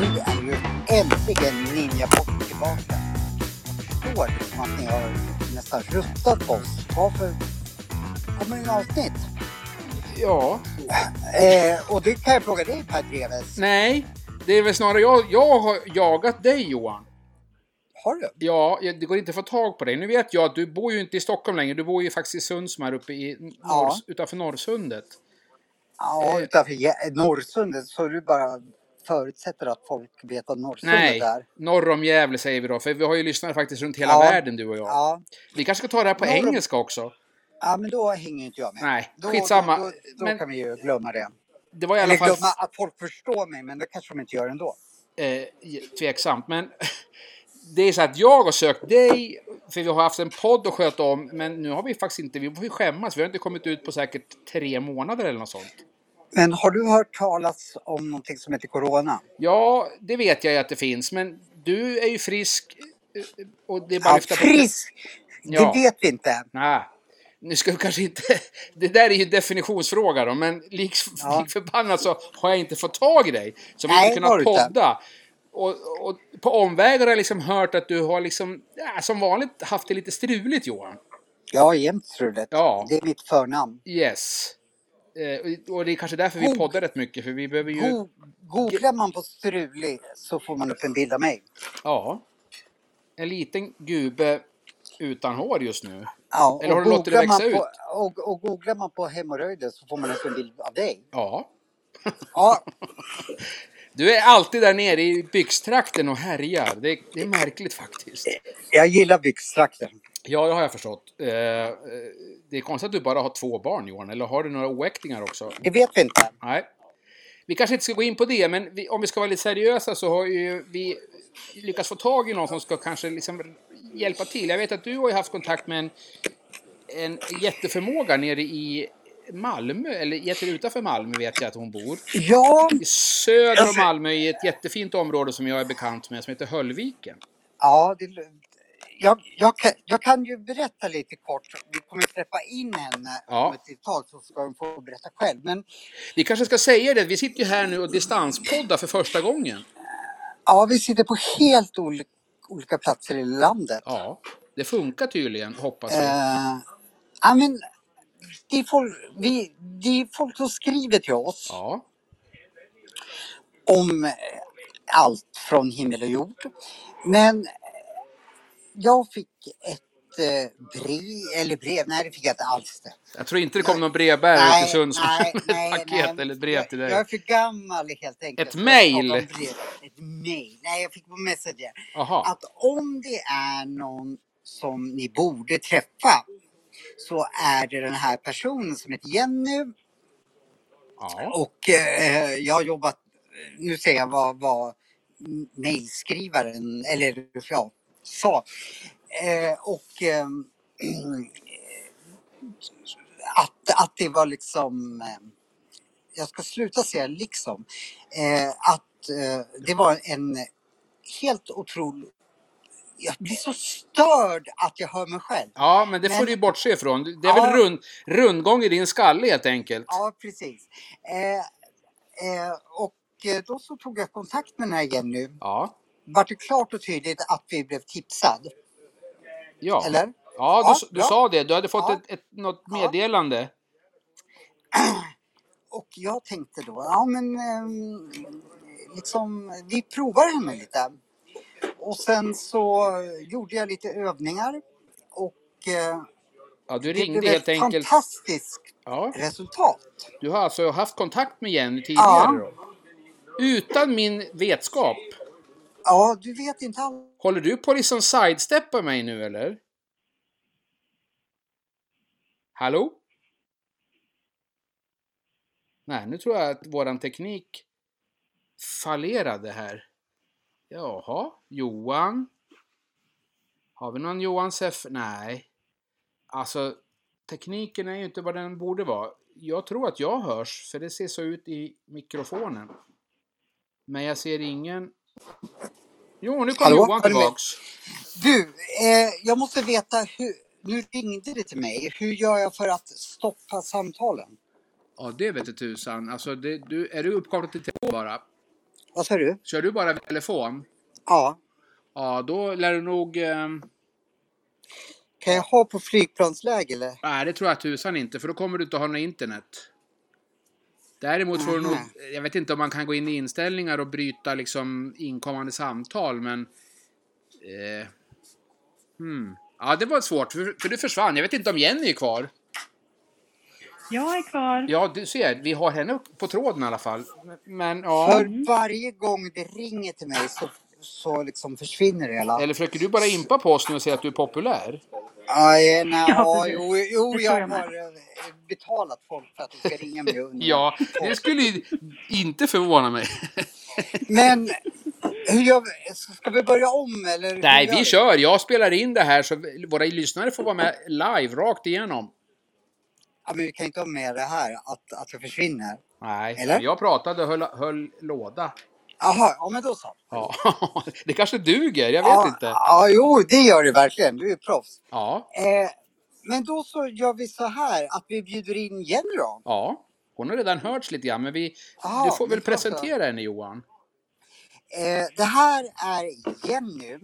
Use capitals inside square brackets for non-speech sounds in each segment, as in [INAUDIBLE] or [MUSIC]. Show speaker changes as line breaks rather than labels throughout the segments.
Nu är ju äntligen Ninja Pop tillbaka. Jag förstår liksom att ni har nästan ruttat på oss. Varför kommer det avsnitt?
Ja.
Eh, och det kan jag fråga dig Per Dreves.
Nej, det är väl snarare jag, jag har jagat dig Johan.
Har du?
Ja, jag- det går inte att få tag på dig. Nu vet jag att du bor ju inte i Stockholm längre, du bor ju faktiskt i Sundsmar uppe i norr,
Ja.
utanför Norrsundet.
Ja, utanför Jä- Norrsundet så du bara förutsätter att folk vet vad Norrsundet
Nej,
är.
norr om Gävle säger vi då, för vi har ju lyssnare faktiskt runt hela
Ja.
världen du och jag.
Ja.
Vi kanske ska ta det här på
Norr om-
engelska också.
ja, men då hänger inte jag med.
Nej,
då,
skitsamma.
Då, då, då
Men-
kan vi ju glömma det.
Det var i alla
Eller
fall
glömma att folk förstår mig, men det kanske de inte gör ändå.
eh, tveksamt, men [LAUGHS] det är så att jag har sökt dig, för vi har haft en podd att sköta om, men nu har vi faktiskt inte, vi får ju skämmas, vi har inte kommit ut på säkert tre månader eller något sånt.
Men har du hört talas om någonting som heter Corona?
Ja, det vet jag ju att det finns, men du är ju frisk eh, och det är bara att
Ja,
lyfta på...
frisk!
Ja.
Det vet vi inte.
Nej, nu ska vi kanske inte... [LAUGHS] Det där är ju en definitionsfråga då, men lik,
Ja.
[LAUGHS] lik förbannat så har jag inte fått tag i dig. Så vi har
Nej,
inte
har
kunnat
du inte.
podda. Och, och på omvägar har jag liksom hört att du har liksom, ja, som vanligt haft det lite struligt Johan.
Ja, jämt strulet.
Ja.
Det är mitt förnamn.
Yes. Eh, och- och det är kanske därför vi
Hot.
poddar rätt mycket, för vi behöver ju...
Go- Googlar man på strulig så får man upp en bild av mig.
Ja. En liten gube utan hår just nu.
Ja,
Eller
och
har du låtit det
googlar man
växa
på, Och, och googlar man på hemorrojder så får man upp en bild av dig.
Ja.
Ja,
Du är alltid där nere i byxtrakten och härjar. Det, det är märkligt faktiskt.
jag gillar byxtrakten.
Ja, det har jag förstått. Eh, eh, det är konstigt att du bara har två barn, Johan. Eller har du några oäktingar också?
Det vet vi inte.
Nej. Vi kanske inte ska gå in på det, men vi, om vi ska vara lite seriösa så har ju vi lyckats få tag i någon som ska kanske liksom hjälpa till. Jag vet att du har ju haft kontakt med en, en jätteförmåga nere i Malmö, eller jätte utanför Malmö vet jag att hon bor.
Ja,
I söder
Jag
om
ser-
Malmö i ett jättefint område som jag är bekant med som heter Höllviken.
ja det, jag, jag, kan, jag kan ju berätta lite kort. Vi kommer träffa in henne
Ja.
om ett litet tag så ska hon få berätta själv. Men
Vi kanske ska säga det, vi sitter ju här nu och distanspoddar för första gången.
ja, vi sitter på helt ol, olika platser i landet.
Ja, det funkar tydligen, hoppas vi.
Eh, ja, men det, är folk, vi, det är folk som skriver till oss
Ja,
om eh, allt från himmel och jord. Men eh, jag fick ett eh, brev, eller brev, nej det fick jag inte alls. Det.
jag tror inte det kom någon brevbärare till Sundsvall [LAUGHS]
nej, nej,
paket
nej.
eller brev till
Jag, jag är
dig.
för gammal helt enkelt.
Ett
för att
mail?
prata om brev. Ett mail, nej jag fick på Messenger.
Jaha,
Att om det är någon som ni borde träffa så är det den här personen som heter Jenny
ja,
och eh, jag har jobbat, nu säger jag vad, vad mejlskrivaren, eller ja, sa. Eh, och eh, [CLEARS THROAT] att, att det var liksom, eh, jag ska sluta säga liksom, eh, att eh, det var en helt otrolig, jag blir så störd att jag hör mig själv.
ja, men det får
Men-
du ju bortse ifrån. Det är
Ja.
väl rund, rundgång i din skalle helt enkelt.
Ja, precis. Eh, eh, och eh, då så tog jag kontakt med den här Jenny.
Ja,
Vart det klart och tydligt att vi blev tipsad?
ja.
Eller?
Ja, du,
Ja,
s- du
ja.
sa det. Du hade fått
Ja.
ett, ett, något
Ja.
meddelande.
Och jag tänkte då, ja men ehm, liksom, vi provar henne lite. Och sen så gjorde jag lite övningar och eh,
Ja, du
det
ringde
blev
helt
ett
enkelt.
fantastiskt
Ja,
resultat.
du har alltså haft kontakt med Jenny tidigare då? Utan min vetskap.
Ja, du vet inte alls.
Håller du på att liksom sidesteppa mig nu eller? Hallå? Nej, nu tror jag att våran teknik fallerade här. Jaha, Johan? Har vi någon Johan Seff? Nej. Alltså, tekniken är ju inte vad den borde vara. Jag tror att jag hörs, för det ser så ut i mikrofonen. Men jag ser ingen... Jo, nu kom
Hallå,
Johan
är du med?
tillbaks.
Du, eh, jag måste veta hur... Nu ringde det till mig. Hur gör jag för att stoppa samtalen?
Ja, det vet du tusan. Alltså, det, du, är du uppkopplad till telefon bara?
Vad sa du?
Kör du bara telefon?
Ja.
Ja, då lär du nog... ehm,
Kan jag ha på flygplansläge eller?
Nej, det tror jag tusan inte, för då kommer du inte ha något internet. Däremot får du
Aha.
nog... Jag vet inte om man kan gå in i inställningar och bryta liksom inkommande samtal, men... Eh, hmm. Ja, det var svårt, för, för du försvann. Jag vet inte om Jenny är kvar.
Jag är kvar.
Ja, du ser, vi har henne upp på tråden i alla fall. Men ja...
För varje gång det ringer till mig så, så liksom försvinner det hela.
Eller försöker du bara impa på oss nu och säga att du är populär?
Aj,
[LAUGHS]
nej,
Ja,
ja,
precis.
jo, jo,
Det tror
jag
jag
har eh, betalat folk för att de ska ringa mig under.
Ja, det skulle ju inte förvåna mig.
Men hur gör vi? Ska vi börja om eller? hur
Nej,
gör
vi kör. Jag spelar in det här så våra lyssnare får vara med live, rakt igenom.
Ja, men vi kan inte ha med det här att, att jag försvinner.
Nej,
Eller?
jag pratade och höll, höll låda.
Jaha, ja men då så.
[LAUGHS] Ja, det kanske duger. Jag vet
Ja,
inte.
ja, jo, det gör det verkligen. Du är proffs.
Ja,
Eh, men då så gör vi så här att vi bjuder in Jenny då.
ja. Hon har redan hörts lite grann, men Ah, vi,
Ja,
du får
men
väl
så, så.
presentera henne Johan.
Eh, det här är Jenny.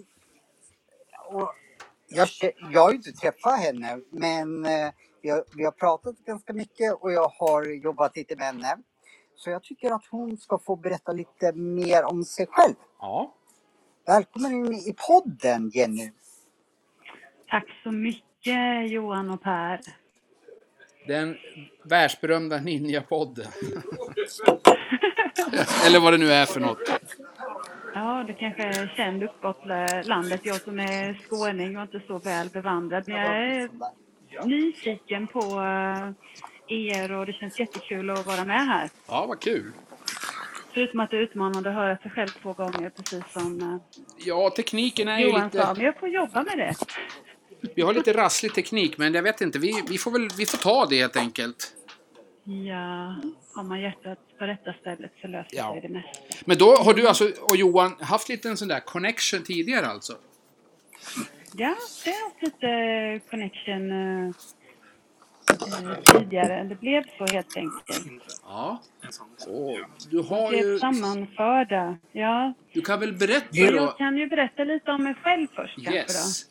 Och jag, kä- jag har ju inte träffat henne, men eh, vi, har, vi har pratat ganska mycket och jag har jobbat lite med henne. Så jag tycker att hon ska få berätta lite mer om sig själv.
Ja,
Välkommen in i podden Jenny.
Tack så mycket Johan och Per.
den världsberömda Ninja-podden. [LAUGHS] Eller vad det nu är för något.
Ja, du kanske är känd uppåt landet. Jag som är skåning och inte så väl bevandrad. Men jag är nyfiken på eh, er och det känns jättekul att vara med här.
Ja, vad kul.
Förutom att det är utmanande att höra sig själv två gånger precis som eh,
Ja, tekniken är ju
Johan sa.
lite...
Men jag får jobba med det.
Vi har lite rasslig teknik, men jag vet inte. Vi, vi får väl vi får ta det helt enkelt.
Ja, har man hjärtat på rätta stället så löser
Ja.
sig det mesta.
Men då har du alltså och Johan haft lite en sån där connection tidigare alltså?
Ja, det har haft lite connection eh, eh, tidigare. Det blev så helt enkelt.
Ja. Och du har
Vi är
ju...
sammanförda. Ja,
Du kan väl
så
berätta då?
jag kan ju berätta lite om mig själv först kanske då.
Yes.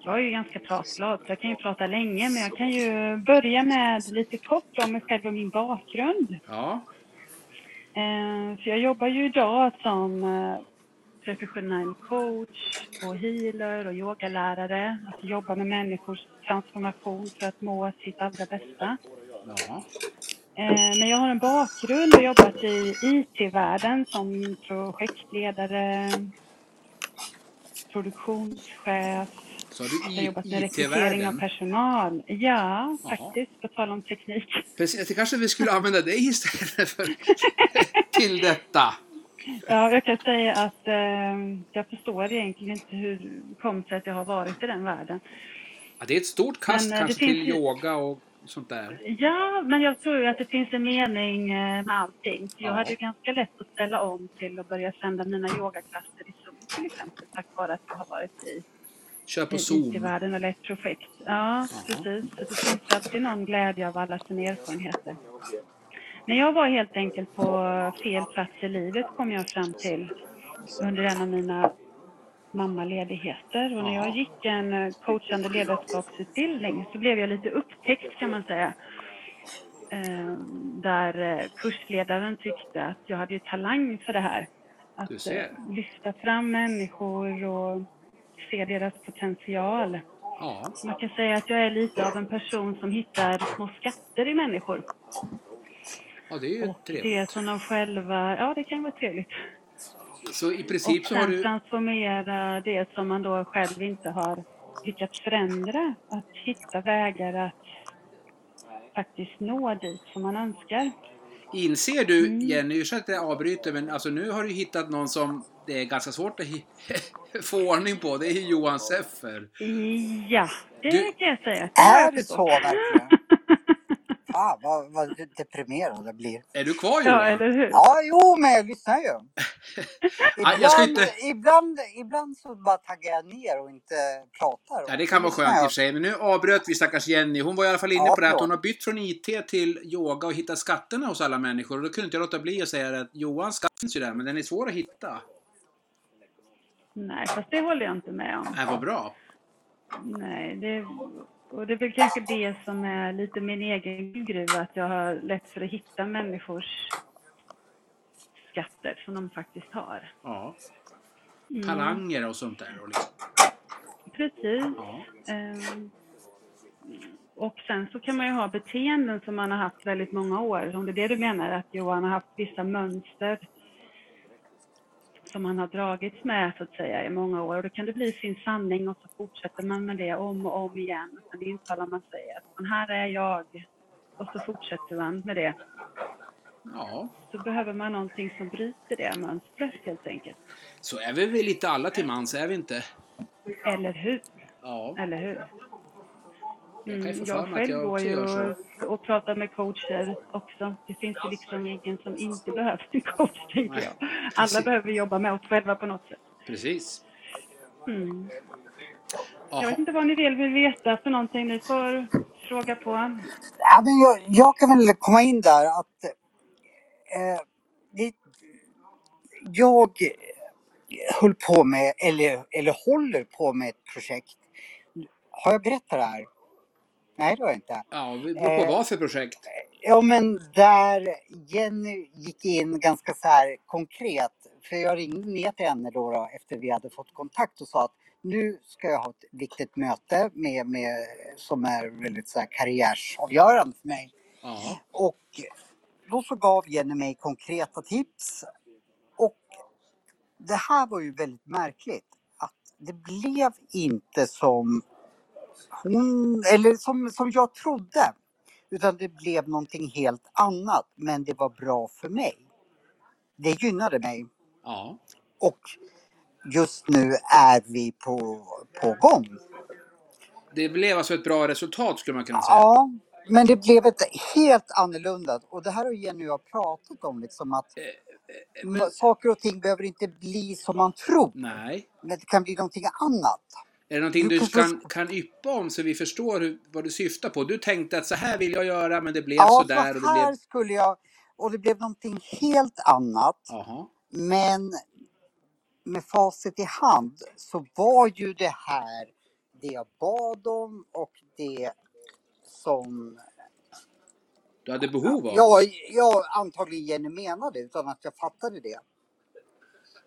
Jag är ju ganska pratglad så jag kan ju prata länge men jag kan ju börja med lite kort om mig själv och min bakgrund.
Ja.
Eh, För jag jobbar ju idag som eh, professionell coach och healer och yogalärare. Att jobba med människors transformation för att må sitt allra bästa.
Ja.
Eh, Men jag har en bakgrund och jobbat i IT-världen som projektledare, produktionschef.
Så har du
Jag har jobbat med
i-
rekrytering av
IT-världen.
personal. Ja,
Jaha.
faktiskt. På tal om teknik.
Precis, det kanske vi skulle använda dig istället för [LAUGHS] till detta.
Ja, jag kan säga att eh, jag förstår egentligen inte hur det kom sig att jag har varit i den världen.
Ja, det är ett stort kast
Men, eh, det
kanske till
finns ju-
yoga och sånt där.
Ja, men jag tror ju att det finns en mening eh, med allting. Jag
Ja.
hade ju ganska lätt att ställa om till att börja sända mina yogaklasser i Zoom till exempel tack vare att jag har varit i,
Kör på
i
Zoom.
IT-världen och lett projekt. Ja, precis. Så det finns alltid någon glädje av alla sina erfarenheter. När jag var helt enkelt på fel plats i livet kom jag fram till under en av mina mammaledigheter. Och när jag gick en eh, coachande ledarskapsutbildning så blev jag lite upptäckt kan man säga. Ehm, Där eh, kursledaren tyckte att jag hade ju talang för det här.
Du
Att
ser.
eh, lyfta fram människor och se deras potential.
Ja.
Man kan säga att jag är lite av en person som hittar små skatter i människor.
ja, det är ju
Och
trevligt.
det som de själva, ja det kan vara trevligt.
Så i
Och
princip så har
sen
du...
transformera det som man då själv inte har lyckats förändra. Att hitta vägar att faktiskt nå dit som man önskar.
Inser du, Jenny, ursäkta att jag avbryter, men alltså nu har du hittat någon som det är ganska svårt att [LAUGHS] hi- få ordning på. Det är ju Johan Seffer.
Ja, det
Du-
kan jag säga.
Är det så verkligen? Ja, Ah, vad, vad deprimerad jag
[LAUGHS]
blir.
Är du kvar Johan?
Ja, eller hur?
Ja, jo, men jag lyssnar
[LAUGHS]
ju. Ibland,
jag ska inte-
ibland, ibland så bara taggar jag ner och inte pratar.
Ja, det kan vara skönt i och för sig. Men nu avbröt vi stackars Jenny. Hon var i alla fall inne
Ja,
på det här att
förlåt.
hon har bytt från IT till yoga och hittat skatterna hos alla människor. Och då kunde inte jag låta bli att säga det att Johans skatt finns ju där, men den är svår att hitta.
Nej, fast det håller jag inte med om.
Äh, vad bra.
Nej, det, och det är väl kanske det som är lite min egen guldgruva, att jag har lätt för att hitta människors skatter som de faktiskt har.
Ja. Talanger och sånt där. Och liksom.
Precis.
ja.
Ehm, Och sen så kan man ju ha beteenden som man har haft väldigt många år. Om det är det du menar, att Johan har haft vissa mönster som han har dragits med så att säga i många år. Och då kan det bli sin sanning och så fortsätter man med det om och om igen. Och sen intalar man sig att "Men här är jag. Och så fortsätter man med det.
ja.
Så behöver man någonting som bryter det mönstret helt enkelt.
Så är vi väl lite alla till mans, är vi inte?
Eller hur?
Ja.
Eller hur?
Jag kan ju
Mm,
få för
jag
mig att
själv
jag
går
också
ju
gör så.
och, och pratar med coacher också. Det finns ju liksom ingen som inte behöver en coach, tänker
Nej,
jag. Alla
precis.
behöver jobba med oss själva på något sätt.
Precis.
Mm. Jag
Jaha.
vet inte vad ni vill, vill veta för någonting. Ni får fråga på.
Ja, men jag, jag kan väl komma in där att eh, det, jag höll på med, eller, eller håller på med ett projekt. Har jag berättat det här? Nej, det har jag inte.
Ja, det beror på
Eh.
vad för projekt.
Ja, men där Jenny gick in ganska så här konkret. För jag ringde ner till henne då, då efter vi hade fått kontakt och sa att nu ska jag ha ett viktigt möte med, med, som är väldigt så här karriärsavgörande för mig.
Ja.
Och då så gav Jenny mig konkreta tips. Och det här var ju väldigt märkligt. Att det blev inte som hon, eller som, som jag trodde. Utan det blev någonting helt annat. Men det var bra för mig. Det gynnade mig.
Ja.
Och just nu är vi på, på gång.
Det blev alltså ett bra resultat skulle man kunna säga.
Ja, men det blev ett helt annorlunda. Och det här har Jenny och jag pratat om. Liksom att
Eh, men-
Saker och ting behöver inte bli som man tror.
Nej.
Men det kan bli någonting annat.
Är det någonting
Du
du
kan
kan, kan yppa om så vi förstår hur, vad du syftar på? Du tänkte att så här vill jag göra men det blev
Ja, så
sådär och det
här
blev...
skulle jag... Och det blev någonting helt annat.
Jaha.
Men med facit i hand så var ju det här det jag bad om och det som
Du hade behov av?
jag, jag antagligen Jenny menade utan att jag fattade det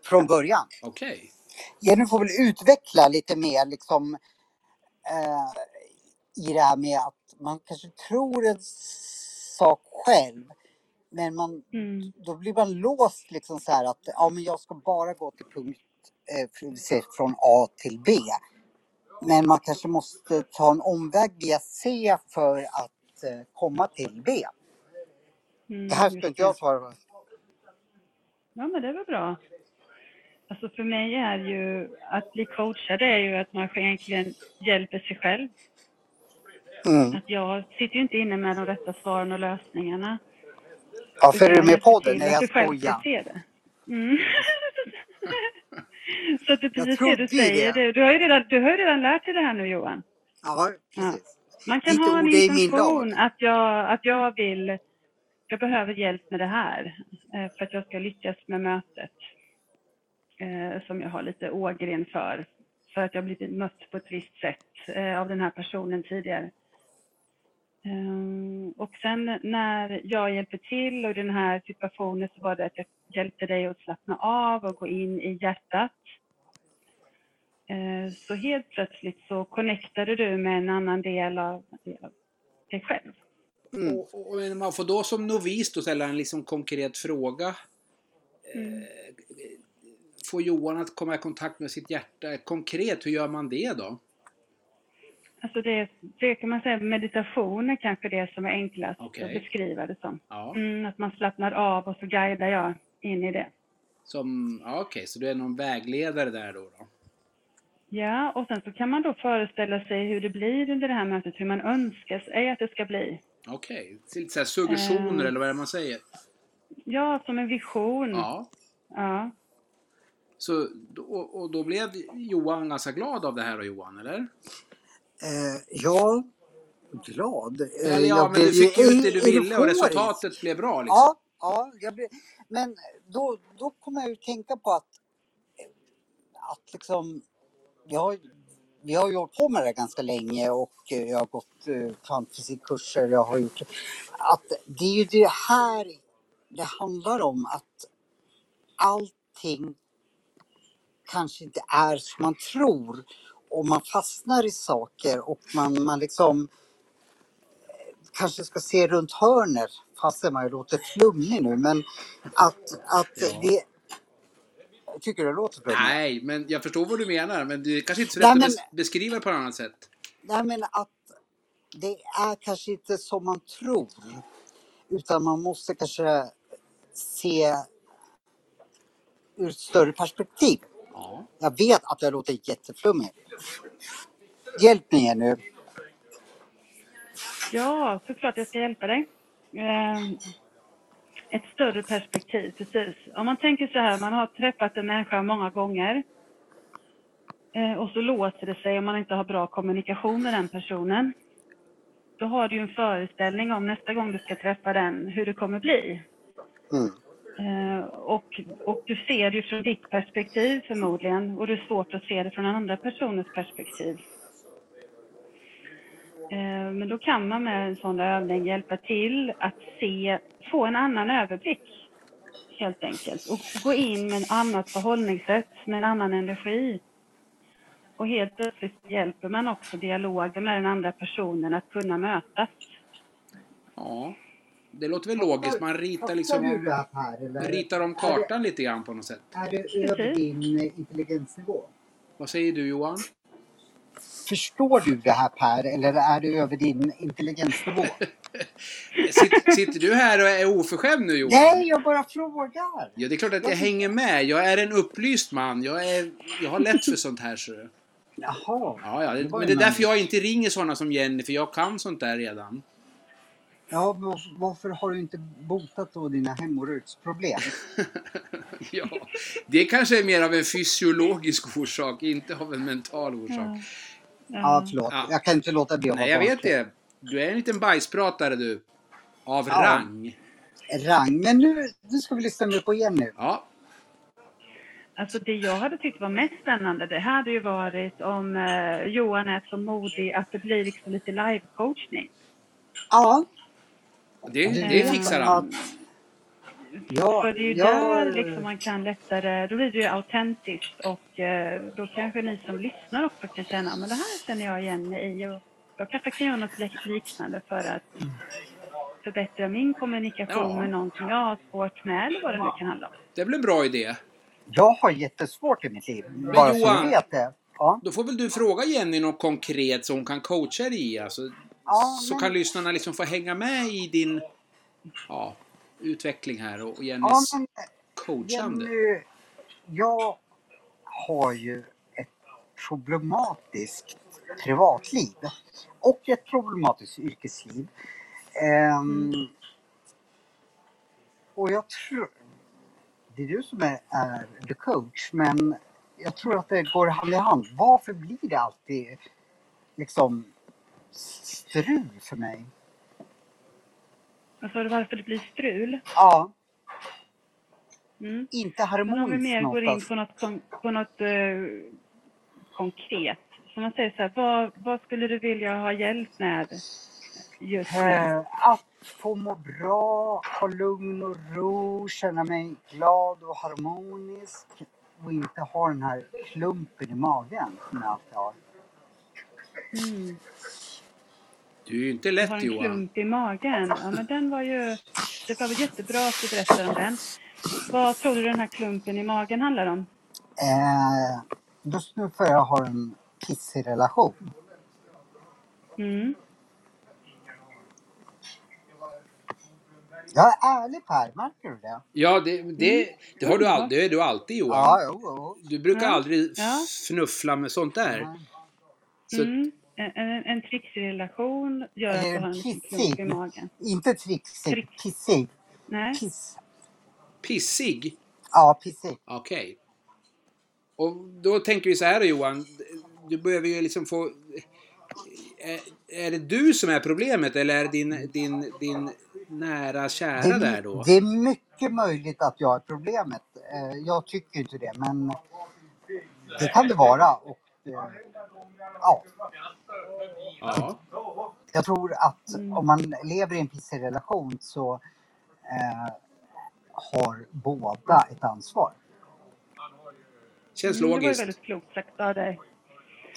från början.
Okej.
Jenny får väl utveckla lite mer liksom, eh, i det här med att man kanske tror en sak själv. Men man,
Mm.
då blir man låst liksom så här att ja, men jag ska bara gå till punkt eh, för- se, från A till B. Men man kanske måste ta en omväg via C för att eh, komma till B.
Mm,
Det här ska
just
inte jag svara på.
Ja, men det är väl bra. Alltså för mig är ju att bli coachad är ju att man egentligen hjälper sig själv.
Mm.
Att jag sitter ju inte inne med de rätta svaren och lösningarna.
Varför är du
Utan
med i
jag ser
podden?
till
Nej,
att
jag
du själv ska
skojar.
se det. Mm. [LAUGHS] Så att det är precis det
trodde
du
ju
säger.
det.
Du, du, har ju redan, du har ju redan lärt dig det här nu Johan.
Ja, precis.
Man kan
Ditt
ha en
ord är i min
intention att jag, att jag vill, jag behöver hjälp med det här eh, för att jag ska lyckas med mötet. eh, Som jag har lite Ågren för. För att jag blivit mött på ett visst sätt eh, av den här personen tidigare. Ehm, Och sen när jag hjälper till och i den här situationen så var det att jag hjälpte dig att slappna av och gå in i hjärtat. Eh, Så helt plötsligt så connectade du med en annan del av av dig själv.
Mm.
Och, och, och man får då som novis då ställa en liksom konkret fråga. Eh,
Mm.
Får Johan att komma i kontakt med sitt hjärta? Konkret, hur gör man det då?
Alltså det, det kan man säga, meditation är kanske det som är enklast
Okej.
att beskriva det som.
Ja,
Mm, att man slappnar av och så guidar jag in i det.
som... Ja, Okej, så du är någon vägledare där då? då.
Ja, och sen så kan man då föreställa sig hur det blir under det här mötet, hur man önskar sig att det ska bli.
Okej. Det är lite så här suggestioner
Eh.
eller vad är det man säger?
Ja, som en vision.
mm.
Ja.
Ja.
Så, och, och då blev Johan ganska glad av det här då Johan, eller?
Eh, ja, glad. Eh,
Eller ja,
jag
men du
blev ju
fick ut det du
eu-
ville och
euforisk.
resultatet blev bra liksom.
Ja, ja jag blev, men då, då kom jag ju tänka på att, att liksom, vi har, vi har ju hållit på med det här ganska länge och eh, jag har gått eh, kvantfysikkurser, jag har gjort att det är ju det här det handlar om att allting kanske inte är som man tror och man fastnar i saker och man, man liksom eh, kanske ska se runt hörnet fastän man ju låter flummig nu men att, att det... Tycker du det låter flummigt?
Nej, men jag förstår vad du menar. Men det är kanske inte så
Nej,
lätt att
men-
bes- beskriva det på något annat sätt.
Nej, men att det är kanske inte som man tror. Utan man måste kanske se ur ett större perspektiv.
Ja.
Jag vet att jag låter jätteflummig. Hjälp mig här nu.
ja, såklart jag ska hjälpa dig. Eh, Ett större perspektiv, precis. Om man tänker så här, man har träffat en människa många gånger eh, och så låser det sig om man inte har bra kommunikation med den personen. Då har du ju en föreställning om nästa gång du ska träffa den, hur det kommer bli.
Mm.
Eh, Och, och du ser det ju från ditt perspektiv förmodligen och det är svårt att se det från den andra personens perspektiv. Eh, Men då kan man med en sån övning hjälpa till att se, få en annan överblick helt enkelt och gå in med ett annat förhållningssätt, med en annan energi. Och helt plötsligt hjälper man också dialogen med den andra personen att kunna mötas.
ja. Det låter väl logiskt. Man ritar liksom...
det här eller
Ritar om kartan lite grann på något sätt.
är det
över
din intelligensnivå?
Vad säger du Johan?
Förstår du det här Per eller är det över din intelligensnivå?
Sitt, sitter du här och är oförskämd nu Johan?
Nej, jag bara frågar.
Ja, det är klart att jag hänger med. Jag är en upplyst man. Jag, är, jag har lätt för sånt här. Så.
Jaha.
Ja, ja.
Det var
Men det
ju
är därför
nice.
jag inte ringer såna som Jenny, för jag kan sånt där redan. [LAUGHS]
Ja, men varför- varför har du inte botat då dina hemorroidsproblem? [LAUGHS]
ja, det kanske är mer av en fysiologisk orsak, inte av en mental orsak.
Eh,
Ja, förlåt.
Ja.
Jag kan inte låta bli att
Nej,
ha
jag vet
barnsligt.
det. Du är en liten bajspratare du. Av
Ja.
rang.
Rang. Men nu, nu ska vi lyssna mer på Jenny.
Ja.
Alltså det jag hade tyckt var mest spännande det hade ju varit om eh, Johan är så modig att det blir liksom lite live-coachning.
Ja.
Det, det fixar han.
Ja,
För det är ju
ja,
där liksom man kan lättare, då blir det ju autentiskt och eh, då kanske ni som lyssnar också kan känna, "Ah, men det här känner jag igen mig i och jag kanske kan göra något lik- liknande för att förbättra min kommunikation
Ja.
med någon som jag har svårt med eller vad det nu kan handla om.
Det blir en bra idé.
jag har jättesvårt i mitt liv. Bara så
Johan-
du vet det. Ja.
Då får väl du fråga Jenny något konkret som hon kan coacha dig i. Alltså,
Ja,
så
men-
kan lyssnarna liksom få hänga med i din ja, utveckling här och och
ja,
Jennys
men
coachande.
Jenny, eh, jag har ju ett problematiskt privatliv och ett problematiskt yrkesliv. Ehm, och jag tror... Det är du som är, är the coach, men jag tror att det går hand i hand. Varför blir det alltid liksom strul för mig?
Alltså varför det blir strul.
Ja,
Mm.
inte
Men om vi mer
harmoniskt
går in
någonstans.
på något, kon- på något eh, konkret. Som man säger så här, vad, vad skulle du vilja ha hjälp med just nu?
Eh, Att få må bra, ha lugn och ro, känna mig glad och harmonisk och inte ha den här klumpen i magen som jag alltid har.
Mm.
Du är ju inte
Jag har
lätt
en
Johan.
klump i magen. Ja, men den var ju... Det var väl jättebra att du berättade om den. Vad tror du den här klumpen i magen handlar om?
Eh, Just nu för jag har en pissig relation.
Mm.
Jag är ärlig Per, märker du det?
Ja, det, det, det, har du all, det är du alltid Johan.
Ja, jo, jo.
Du brukar
Ja.
aldrig
Ja.
fnuffla med sånt där.
Nej.
Så-
Mm. Eh, en, en, en trixig relation gör att du
Eh,
har en
kissig.
klump i magen.
Inte trixig,
Trix-
kissig.
Nej,
Kiss.
Pissig?
Ja, pissig.
Okej.
Och då tänker vi så här då, Johan. Du behöver ju liksom få... Är, är det du som är problemet eller är det din, din, din nära
Det
kära där
är,
då?
det är mycket möjligt att jag är problemet. Eh, Jag tycker inte det, men det kan det vara. Och, eh, ja,
Ja.
jag tror att
Mm.
om man lever i en pissig relation så eh, har båda ett ansvar.
Känns
mm, det var ju
logiskt.
väldigt klokt sagt av dig.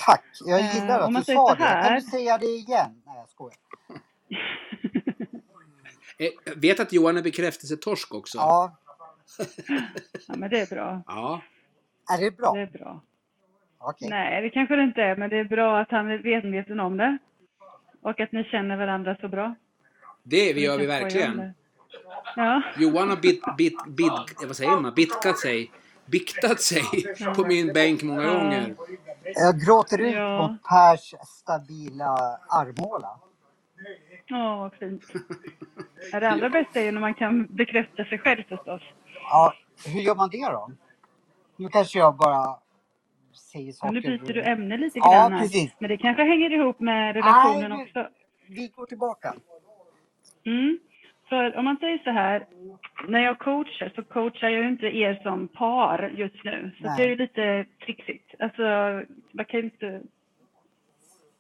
Tack! Jag
Eh,
gillar
om
att
man
du
säger så
sa det. Kan
här-
du säga det igen? Nej, jag skojar.
Eh, Jag vet att Johan är bekräftelsetorsk också.
Ja,
ja, men det är bra.
Ja.
är det bra?
Det är bra.
Okej.
Nej, det kanske det inte är, men det är bra att han är medveten om det. Och att ni känner varandra så bra.
Det gör
kan
vi
skoja om
verkligen.
det. Ja.
Johan har bit, bit, bit, eh, vad säger man? bitkat sig. Biktat
[LAUGHS]
sig på min bänk många
Ja.
gånger.
Jag gråter ut
Ja.
mot Pers stabila armhåla.
Åh, vad fint. Ja, Det allra bästa är ju när man kan bekräfta sig själv förstås.
Ja, hur gör man det då? Nu kanske jag bara säger saker.
Men nu byter du ämne lite
Ja,
grann. här.
precis. Ah,
Men det kanske hänger ihop med relationen
Nej, men-
också.
Vi går tillbaka.
Mm. För om man säger så här, när jag coachar så coachar jag ju inte er som par just nu. Så
Nej.
det är ju lite trixigt. Alltså, man kan ju inte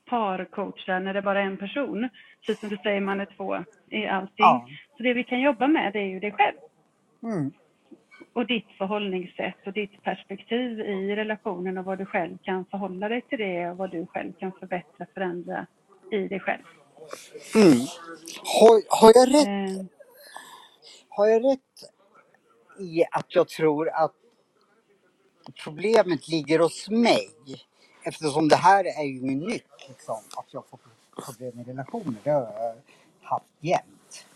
parcoacha när det bara är en person. Precis som du säger, man är två i allting.
Ja.
Så det vi kan jobba med det är ju dig själv
Mm.
och ditt förhållningssätt och ditt perspektiv i relationen och vad du själv kan förhålla dig till det och vad du själv kan förbättra, förändra i dig själv.
Mm. Har, har, jag rätt,
Eh,
har jag rätt i att jag tror att problemet ligger hos mig? Eftersom det här är ju min nytt, liksom, att jag får problem med relationer. Det har jag haft jämt.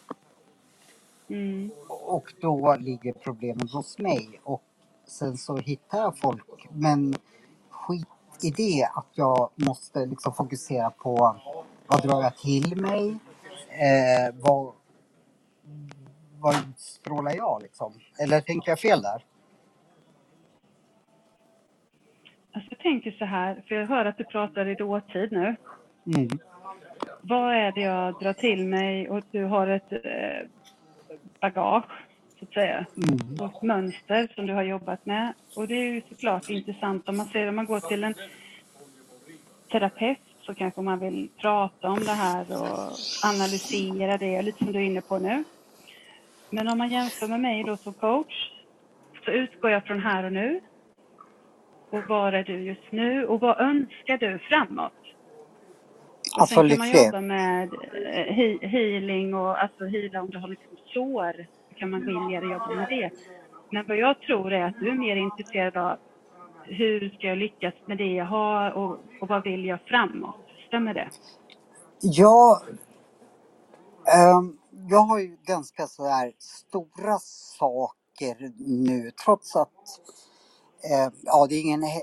mm.
Och då ligger problemet hos mig och sen så hittar jag folk. Men skit i det att jag måste liksom fokusera på vad drar jag till mig? Eh, vad, vad strålar jag liksom? Eller tänker jag fel där?
Alltså jag tänker så här, för jag hör att du pratar i dåtid nu.
Mm.
Vad är det jag drar till mig och du har ett eh, bagage, så att säga.
Mm.
Och ett mönster som du har jobbat med. Och det är ju såklart intressant om man ser om man går till en terapeut så kanske man vill prata om det här och analysera det, lite som du är inne på nu. Men om man jämför med mig då som coach så utgår jag från här och nu. Och var är du just nu och vad önskar du framåt? Och
Alltså
sen kan man jobba
lycklig.
med eh, he- healing och alltså heala om du har liksom sår. Då kan man gå in mer och jobba med det. Men vad jag tror är att du är mer intresserad av hur ska jag lyckas med det jag har och, och vad vill jag framåt? Stämmer det?
Jag, ehm, jag har ju ganska sådär stora saker nu trots att Eh, ja, det är ingen he-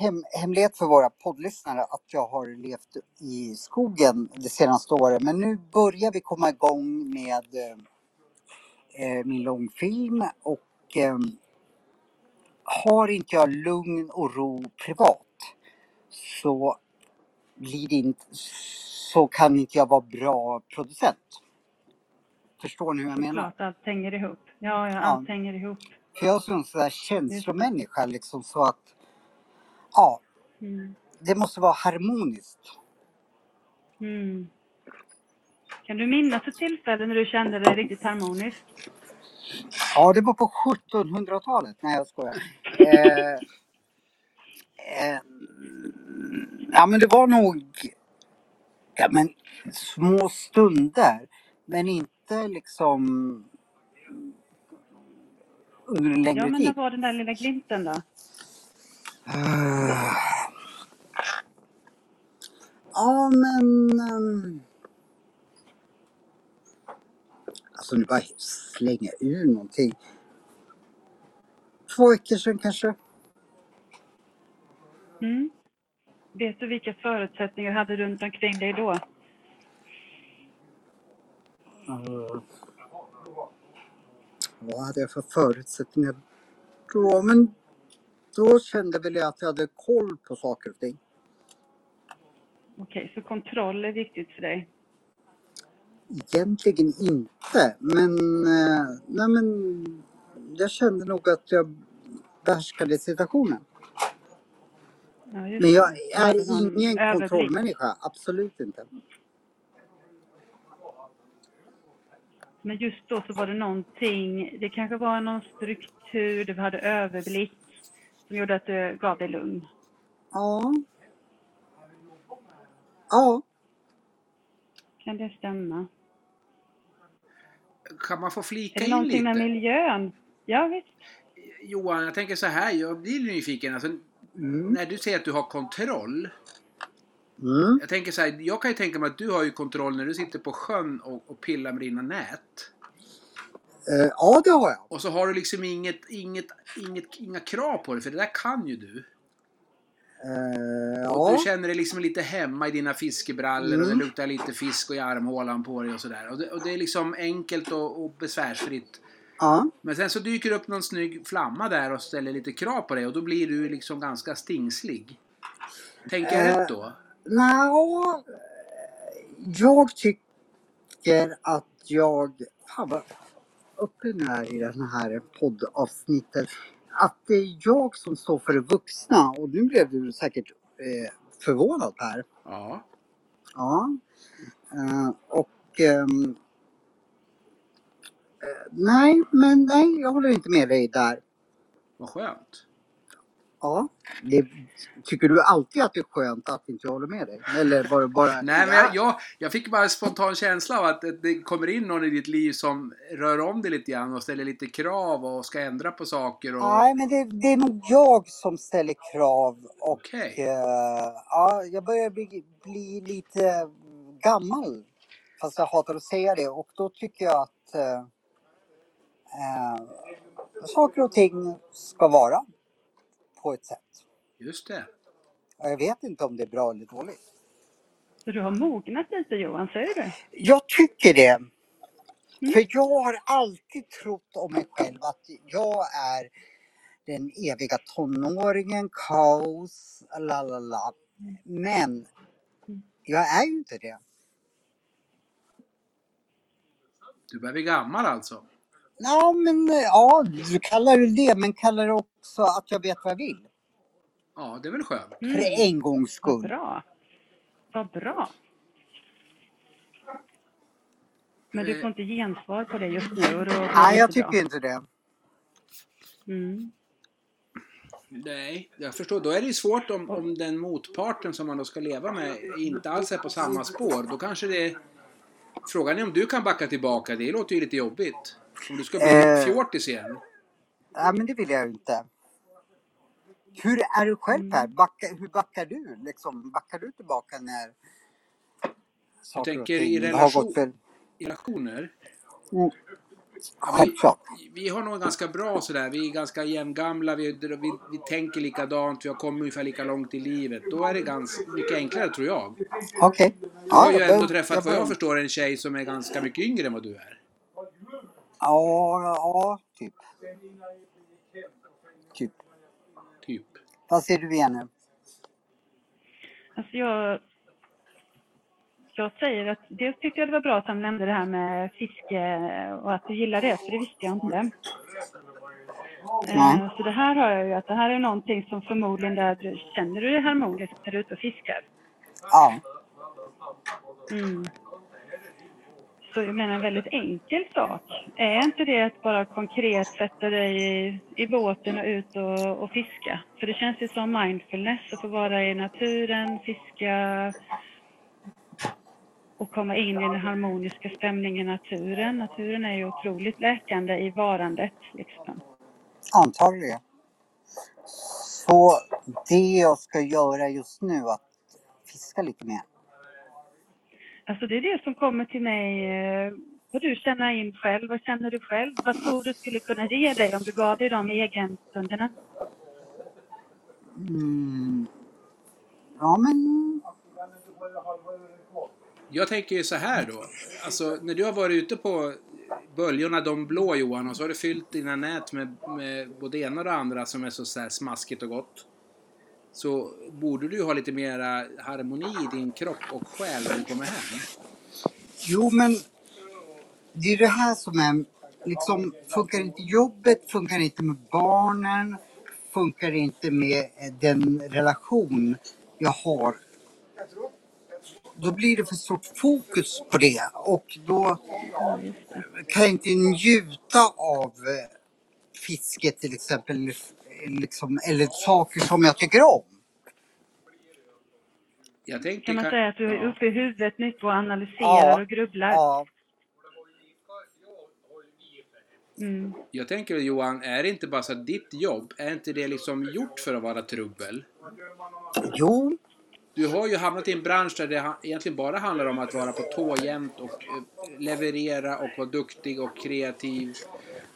hem, hemlighet för våra poddlyssnare att jag har levt i skogen det senaste året. Men nu börjar vi komma igång med eh, eh, min långfilm och eh, har inte jag lugn och ro privat så, blir det inte, så kan inte jag vara bra producent. Förstår ni hur jag menar?
Klart, allt hänger ihop. Ja, ja allt hänger ihop.
För jag är en sån där känslomänniska liksom så att ja,
Mm.
det måste vara harmoniskt.
Mm. Kan du minnas ett tillfälle när du kände dig riktigt harmonisk?
Ja, det var på 1700-talet. Nej, jag [LAUGHS] skojar. Eh, eh, ja, men det var nog ja, men, små stunder. Men inte liksom under en längre
Ja, men
tid.
när var den där lilla glimten då?
Eh, ja, men... ehm, alltså, nu bara slänga ur någonting. Två veckor sedan kanske.
Mm. Vet du vilka förutsättningar du hade runt omkring dig då?
Mm. Vad hade jag för förutsättningar då? Men då kände väl jag att jag hade koll på saker och ting.
Okej, så kontroll är viktigt för dig.
Egentligen inte, men, eh, nej men jag kände nog att jag behärskade situationen.
Ja, just
Men
det.
jag
Du hade
är
någon
ingen
överblick.
kontrollmänniska, absolut inte.
Men just då så var det någonting, det kanske var någon struktur, du hade överblick som gjorde att du gav dig lugn.
Ja. Ja.
Kan det stämma?
Kan man få
Är
flika
det
in
någonting med
lite?
miljön? Ja, visst.
Johan, jag tänker så här, jag blir nyfiken. Alltså,
Mm.
när du säger att du har kontroll.
Mm.
Jag tänker så här, jag kan ju tänka mig att du har ju kontroll när du sitter på sjön och, och pillar med dina nät.
Eh, Ja, det har jag.
Och så har du liksom inget, inget, inget, inga krav på dig, för det där kan ju du.
Eh,
Och
Ja.
du känner dig liksom lite hemma i dina fiskebrallor och det
Mm.
luktar lite fisk och i armhålan på dig och sådär. Och, det- och det är liksom enkelt och, och besvärsfritt.
Ja.
Men sen så dyker det upp någon snygg flamma där och ställer lite krav på dig och då blir du liksom ganska stingslig. Tänker jag
Eh.
rätt då?
Nja, jag tycker att jag... Fan vad uppe nu är i den här poddavsnittet. Att det är jag som står för det vuxna och nu blev du säkert eh, förvånad här.
Ja.
Ja. Eh, och... ehm, eh, nej, men nej, jag håller inte med dig där.
Vad skönt.
Ja. Det, tycker du alltid att det är skönt att inte jag håller med dig? Eller var det bara...
Nej, men jag, jag, jag fick bara en spontan känsla av att det- det kommer in någon i ditt liv som rör om det lite grann och ställer lite krav och ska ändra på saker och...
Nej, men det, det är nog jag som ställer krav och
Okej.
eh, ja, jag börjar bli, bli lite gammal. Fast jag hatar att säga det och då tycker jag att eh, eh, saker och ting ska vara på ett sätt.
Just det.
Och jag vet inte om det är bra eller dåligt.
Så du har mognat lite Johan, säger du?
Jag tycker det.
Mm.
För jag har alltid trott om mig själv att jag är den eviga tonåringen, kaos, la la la. Men jag är ju inte det.
Du börjar bli gammal alltså.
Ja, men eh, ja, du kallar det det, men kallar det också att jag vet vad jag vill.
Ja, det är väl skönt.
För en gångs
Vad
skull.
Mm. bra. Vad bra. Men du får inte gensvar på det just nu och då blir det
Eh. Nej, jag
inte bra.
tycker inte det.
Mm.
Nej, jag förstår. Då är det ju svårt om, om den motparten som man då ska leva med inte alls är på samma spår. Då kanske det... Frågan är om du kan backa tillbaka. Det låter ju lite jobbigt. Om du ska bli
Eh.
fjortis igen.
Nej, men det vill jag ju inte. Hur är du själv
Mm.
Per? Backa, hur backar du? Liksom, backar du tillbaka när saker och
tänker i
ting har
relation- Mm.
gått fel?
I relationer.
Mm,
Ja, men
Självklart.
vi, vi har nog ganska bra sådär. Vi är ganska jämngamla. Vi, vi, vi tänker likadant. Vi har kommit ungefär lika långt i livet. Då är det ganska mycket enklare tror jag.
Okej.
Du har ju
jag bör-
ändå träffat, vad
bör-
jag förstår, en tjej som är ganska mycket yngre än vad du är.
Ja, ja, typ. Typ.
Typ.
Vad ser du igen nu?
Alltså jag, jag säger att dels tyckte jag det var bra att han nämnde det här med fiske och att du gillar det, för det visste jag inte.
Nej.
Eh, Så det här har jag ju att det här är någonting som förmodligen där du känner du dig harmonisk när du är ute och fiskar.
Ja.
Mm. Så jag menar en väldigt enkel sak. Är inte det att bara konkret sätta dig i, i båten och ut och, och fiska? För det känns ju som mindfulness att få vara i naturen, fiska och komma in i den harmoniska stämningen i naturen. Naturen är ju otroligt läkande i varandet. Liksom.
Antagligen. Så det jag ska göra just nu är att fiska lite mer.
Alltså det är det som kommer till mig. eh, Vad du känner in själv, vad känner du själv? Vad tror du skulle kunna ge dig om du gav dig de egenstunderna?
Mm. Ja, men...
Jag tänker ju så här då. Alltså, när du har varit ute på böljorna, de blå Johan, och så har du fyllt dina nät med, med både ena och det andra som är så, så här smaskigt och gott. Så borde du ju ha lite mera harmoni i din kropp och själ när du kommer hem.
Jo, men det är det här som är... Liksom, funkar inte jobbet, funkar inte med barnen, funkar inte med eh, den relation jag har. Då blir det för stort fokus på det och då
Ja, just det.
kan jag inte njuta av eh, fisket till exempel, eller f- liksom, eller saker som jag tycker om.
Jag tänker
Kan man
ka-
säga att du är
ja.
uppe i huvudet nu och analyserar
Ja.
och grubblar?
Ja,
Mm.
Jag tänker väl, Johan, är det inte bara så att ditt jobb, är inte det liksom gjort för att vara trubbel?
jo,
Du har ju hamnat i en bransch där det ha- egentligen bara handlar om att vara på tå jämt och eh, leverera och vara duktig och kreativ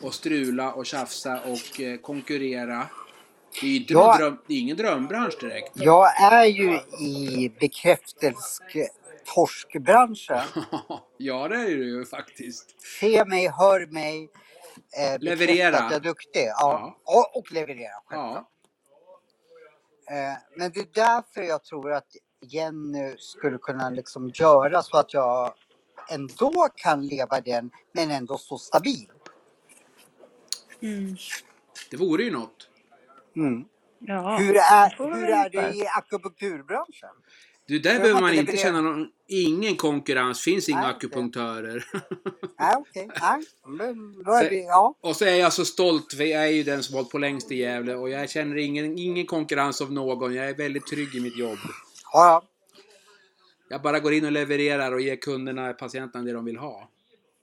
och strula och tjafsa och eh, konkurrera. Det är ju inte
Ja.
någon dröm, det är ingen drömbransch direkt. [LAUGHS]
jag är ju i bekräftelsetorskbranschen.
ja, det är det ju faktiskt.
Se mig, hör mig, eh, bekräfta
Leverera.
att jag är duktig. Ja. Och, och leverera självklart.
Ja,
Eh, men det är därför jag tror att Jenny skulle kunna liksom göra så att jag ändå kan leva den, men ändå så stabil.
Mm.
det vore ju något.
Mm.
Ja,
Hur
det
är,
får vi
hur
väl
är det
hoppas.
i akupunkturbranschen?
Du, där
Behöver
behöver
man
man
inte
inte
leverera.
känna någon... Ingen konkurrens, finns inga
Nej, okej.
akupunktörer. [LAUGHS]
Nej, okej. Nej, men då är
Så-
vi... Ja.
Och så är jag så stolt, för jag är ju den som hållit på längst i Gävle och jag känner ingen, ingen konkurrens av någon. Jag är väldigt trygg i mitt jobb.
Ja,
Jag bara går in och levererar och ger kunderna, patienterna, det de vill ha.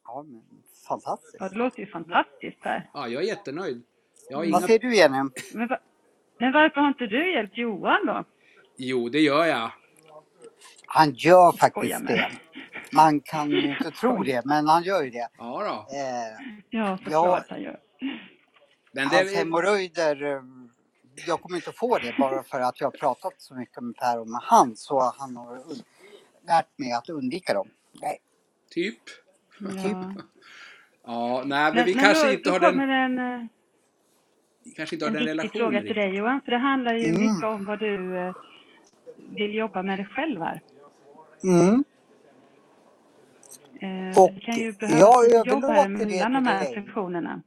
ja men fantastiskt.
Ja, det låter ju fantastiskt Per.
Ja, jag är jättenöjd. Jag har
Vad
inga...
säger du Jenny?
Men, va- men varför har inte du hjälpt Johan då?
Jo, det gör jag.
Han gör
Skoja
faktiskt
med
det.
dig.
Man kan ju
[LAUGHS]
inte tro det, men han gör ju det.
Ja, då.
Eh, Ja.
Ja, såklart han gör.
Eh,
Men
hans
Alltså,
det...
hemorrojder, eh, jag kommer inte få det bara för att jag har pratat så mycket med Per och med han så han har un- lärt mig att undvika dem. Nej,
Typ.
Ja.
Ja, nej, men
Men,
vi
men
kanske
då,
inte
då
har
kommer
den...
en, eh,
Kanske inte har
en
den
viktig fråga
relationen
till
riktigt.
dig Johan, för det handlar ju
Mm.
mycket om vad du eh, vill jobba med dig själv här.
Mm.
Eh,
Och
vi kan ju
jag
behöva lite jobb här
överlåter det
mellan
till
de här
dig.
funktionerna.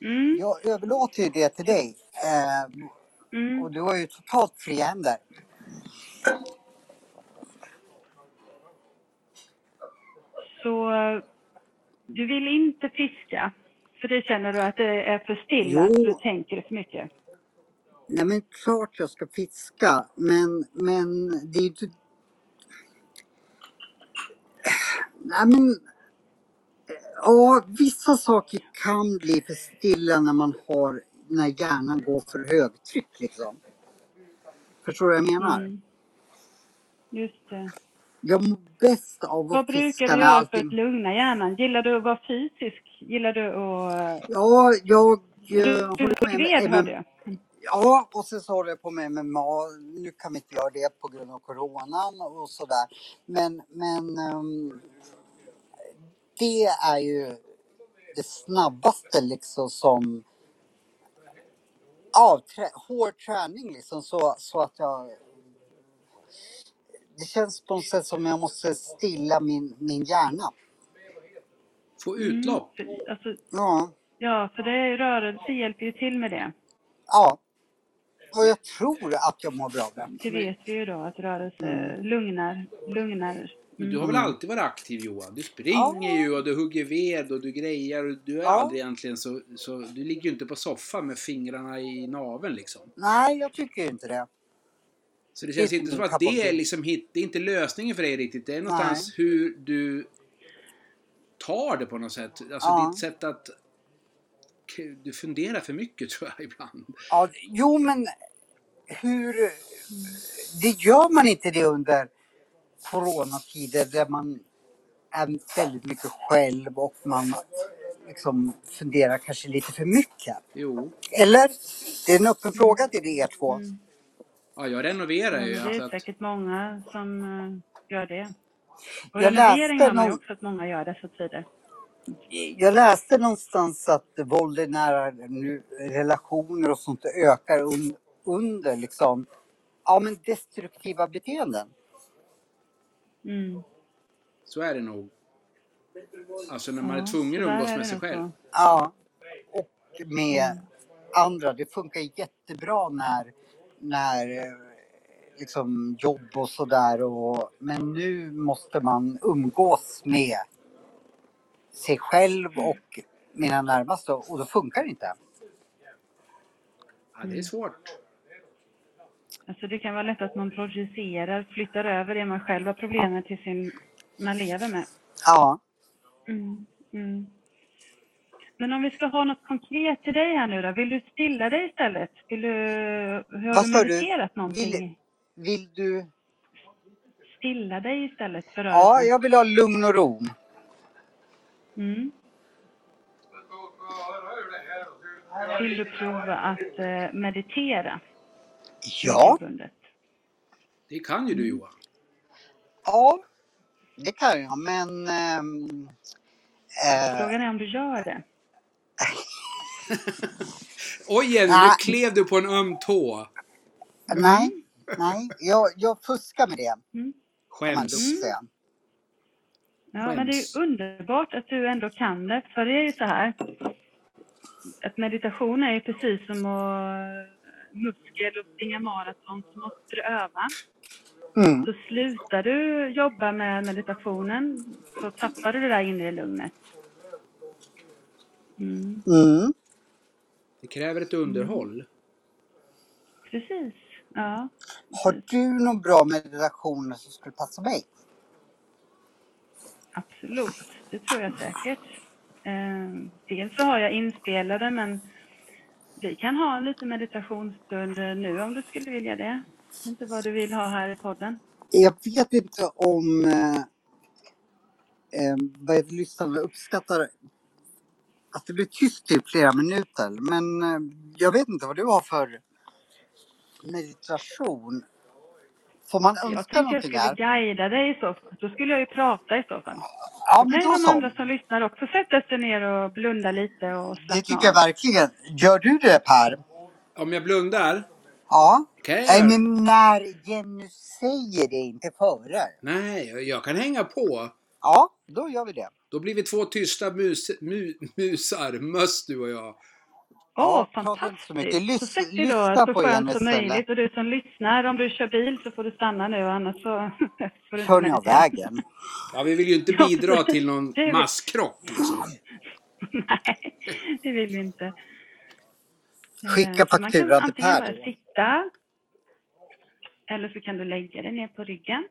Mm,
Jag överlåter ju det till dig. Eh,
mm.
och du har ju totalt fria händer.
Så eh, du vill inte fiska, för det känner du att det är för stilla,
Jo.
du tänker för mycket.
Nej men klart jag ska fiska, men, men det är ju inte... Nej men... eh, Ja, vissa saker kan bli för stilla när man har, när hjärnan går för högtryck liksom. Förstår du vad jag menar?
Mm. Just det.
Jag mår bäst av
Vad
att
brukar
fiska
du
när
göra för att
allting...
lugna hjärnan? Gillar du att vara fysisk? Gillar du att...
Ja, jag eh,
Du, du
håller på med
skred hörde jag.
Ja, och sen så håller jag på med MMA. Nu kan vi inte göra det på grund av coronan och sådär. Men, men ehm, det är ju det snabbaste liksom som ja, trä, hård träning liksom så, så att jag det känns på något sätt som jag måste stilla min, min hjärna.
Få utlopp.
Mm, för- alltså,
Ja,
ja, för det är ju rörelse hjälper ju till med det.
ja. Och jag tror att jag mår bra av det.
Det vet vi ju då att rörelse
Mm.
lugnar, lugnar. Mm.
Men du har väl alltid varit aktiv Johan? Du springer
Ja.
ju och du hugger ved och du grejar och du är
Ja.
aldrig egentligen så, så... Du ligger ju inte på soffan med fingrarna i naveln liksom.
Nej, jag tycker inte det.
Så det känns
Det är
inte
typ
inte
som att
kapabel.
det är liksom hit, det är inte lösningen för dig riktigt. Det är någonstans hur du tar det på något sätt. Alltså
Ja.
ditt sätt att... Gud, Du funderar för mycket [LAUGHS] tror jag ibland.
Ja, jo, men hur... Det gör man inte det under coronatider där man är väldigt mycket själv och man liksom funderar kanske lite för mycket.
Jo.
Eller? Det är en öppen fråga till er två.
Ja, jag renoverar
Men
ju.
det är
Alltså att,
säkert många som eh, gör det. Och
Jag läste
renovering har man ju
någon-
också att många gör dessa tider.
Jag läste någonstans att våld i nära nu, relationer och sånt ökar un, under liksom, ja men destruktiva beteenden.
Mm.
så är det nog. Alltså när man
Ja,
är tvungen att
så där
umgås
är
med
det
sig
nog
själv.
så.
Ja, och med andra. Det funkar jättebra när, när eh, liksom jobb och sådär. och- Men nu måste man umgås med sig själv och mina närmaste och då funkar det inte.
Ja,
Mm.
det är svårt.
Alltså det kan vara lätt att man projicerar, flyttar över det man själv har problemet till sin man lever med.
Ja.
Mm. Mm. Men om vi ska ha något konkret till dig här nu då, vill du stilla dig istället? Vill du, hur
Vad
har du
sa du?
mediterat någonting?
Vill- Vill du?
Stilla dig istället för
Ja,
rörelsen?
jag vill ha lugn och ro.
Mm. Vill du prova att eh, meditera?
Ja,
regelbundet?
Det kan ju du
Mm.
Johan.
ja det kan jag. Men ehm, eh,
Frågan är om du gör det.
Oj Jenny,
Nej.
nu klev du på en öm tå.
nej, nej. Jag, jag fuskar med det. kan man
Skäms.
lugnt säga.
Ja, men det är ju underbart att du ändå kan det. För det är ju så här att meditation är ju precis som att muskel och springa maraton så måste du öva.
Mm.
Så slutar du jobba med meditationen så tappar du det där inre lugnet. Mm,
Mm.
Det kräver ett underhåll.
precis. Ja. Mm.
Har du någon bra meditation som skulle passa mig?
Absolut, det tror jag säkert. Eh, dels så har jag inspelade, men vi kan ha lite meditationsstund eh, nu om du skulle vilja det. Jag vet Inte vad du vill ha här i podden.
Jag vet inte om eh, eh, vad lyssnarna uppskattar att det blir tyst i flera minuter. Men eh, jag vet inte vad du har för meditation. Får man
Jag
önska
tänkte jag
någonting
skulle
här?
guida dig i så fall. Då skulle jag ju prata i så fall.
Ja,
Då
men
kan ju
då
de andra
så.
som lyssnar också sätta sig ner och blunda lite och
Det
slappna
tycker jag
av.
verkligen. Gör du det Per?
Om jag blundar?
Ja.
Kan jag
Nej,
göra?
men när Jenny säger det, inte före.
Nej, jag kan hänga på.
Ja, då gör vi det.
Då blir vi två tysta mus, mu, musar, möss du och jag.
Åh,
Ja, prata inte så mycket.
fantastiskt! Så
Lys-
sätt dig då
lyssna
så
på
skönt
Jenny
som
istället.
möjligt. Och du som lyssnar, om du kör bil så får du stanna nu annars så [LAUGHS] får du inte
Kör ni av
meditera.
vägen?
Ja, vi vill ju inte
Ja,
bidra
precis.
till någon
Det är vi.
masskrock. Liksom.
Nej, det vill vi inte.
Skicka
Eh, så
fakturan
Man
till
kan antingen
Per.
bara sitta eller så kan du lägga dig ner på ryggen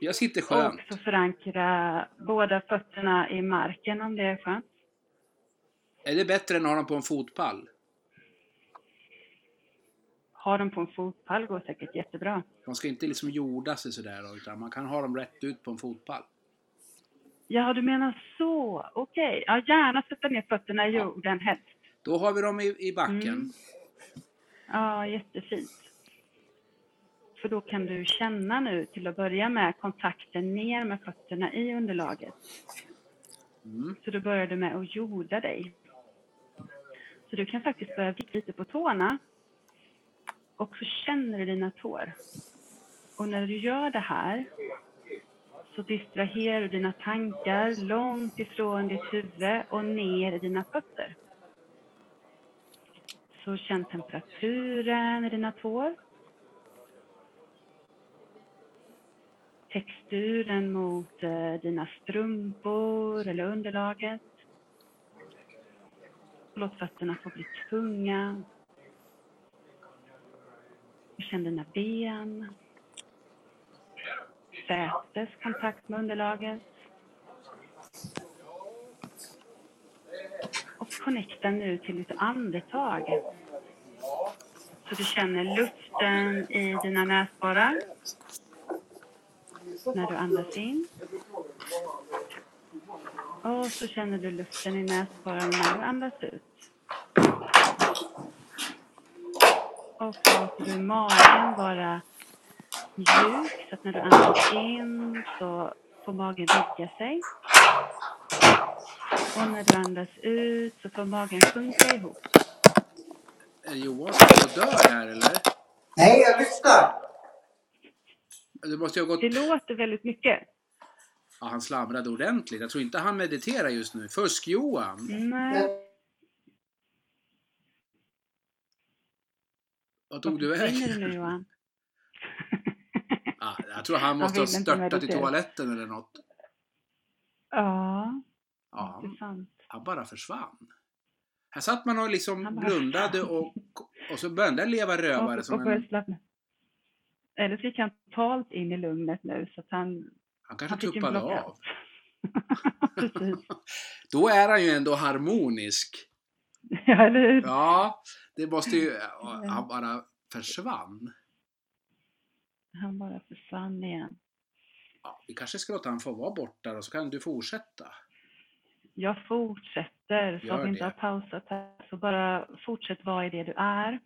Jag sitter
och
skönt.
så förankra båda fötterna i marken om det är skönt.
Är det bättre än att ha dem på en fotpall?
Ha dem på en fotpall går säkert jättebra.
De ska inte liksom jorda sig sådär då, utan man kan ha dem rätt ut på en fotpall.
Ja, du menar så. Okej. Ja, gärna sätta ner fötterna i jorden helst.
Då har vi dem i, i backen.
Mm. Ja, jättefint. För då kan du känna nu till att börja med kontakten ner med fötterna i underlaget. Så då börjar du med att jorda dig. Så du kan faktiskt börja vicka lite på tårna. Och så känner du dina tår. Och när du gör det här så distraherar du dina tankar långt ifrån ditt huvud och ner i dina fötter. Så känn temperaturen i dina tår. Texturen mot eh, dina strumpor eller underlaget. Låt fötterna få bli tunga. Och Känn dina ben. Sätes kontakt med underlaget. Och connecta nu till ditt andetag. Så du känner luften i dina näsborrar när du andas in. Och så känner du luften i näsborrarna när du andas ut. Och och så skulle magen vara mjuk så att när du andas in så får magen vidga sig. Och när du andas ut så får magen sjunka ihop.
Är Johan som står och dör här eller?
Nej, jag lyssnar!
Du måste ju ha gått...
Det låter väldigt mycket.
Ja, han slamrade ordentligt. Jag tror inte han mediterar just nu. Fusk-Johan!
Nej,
Vad tog
varför
du
försvinner
vägen?
du nu Johan?
Ja, jag tror han måste ha
vill inte
störtat i
meditera.
toaletten eller något.
Ja,
Ja,
det är sant.
han bara försvann. Här satt man och liksom
Han bara
blundade och, och så började den leva rövare
Och, och
som
börjar
en...
slappna. Eller så gick han totalt in i lugnet nu så att han, [LAUGHS]
Han
han
kanske
fick en
tuppade
blockad.
av.
Precis.
Då är han ju ändå harmonisk.
Ja, eller hur?
Ja, det måste ju... Han bara försvann.
Han bara försvann igen.
Ja, vi kanske ska låta han få vara borta då, så kan du fortsätta.
Jag fortsätter, så
Gör
att vi
det.
inte har pausat här. Så bara fortsätt vara i det du är.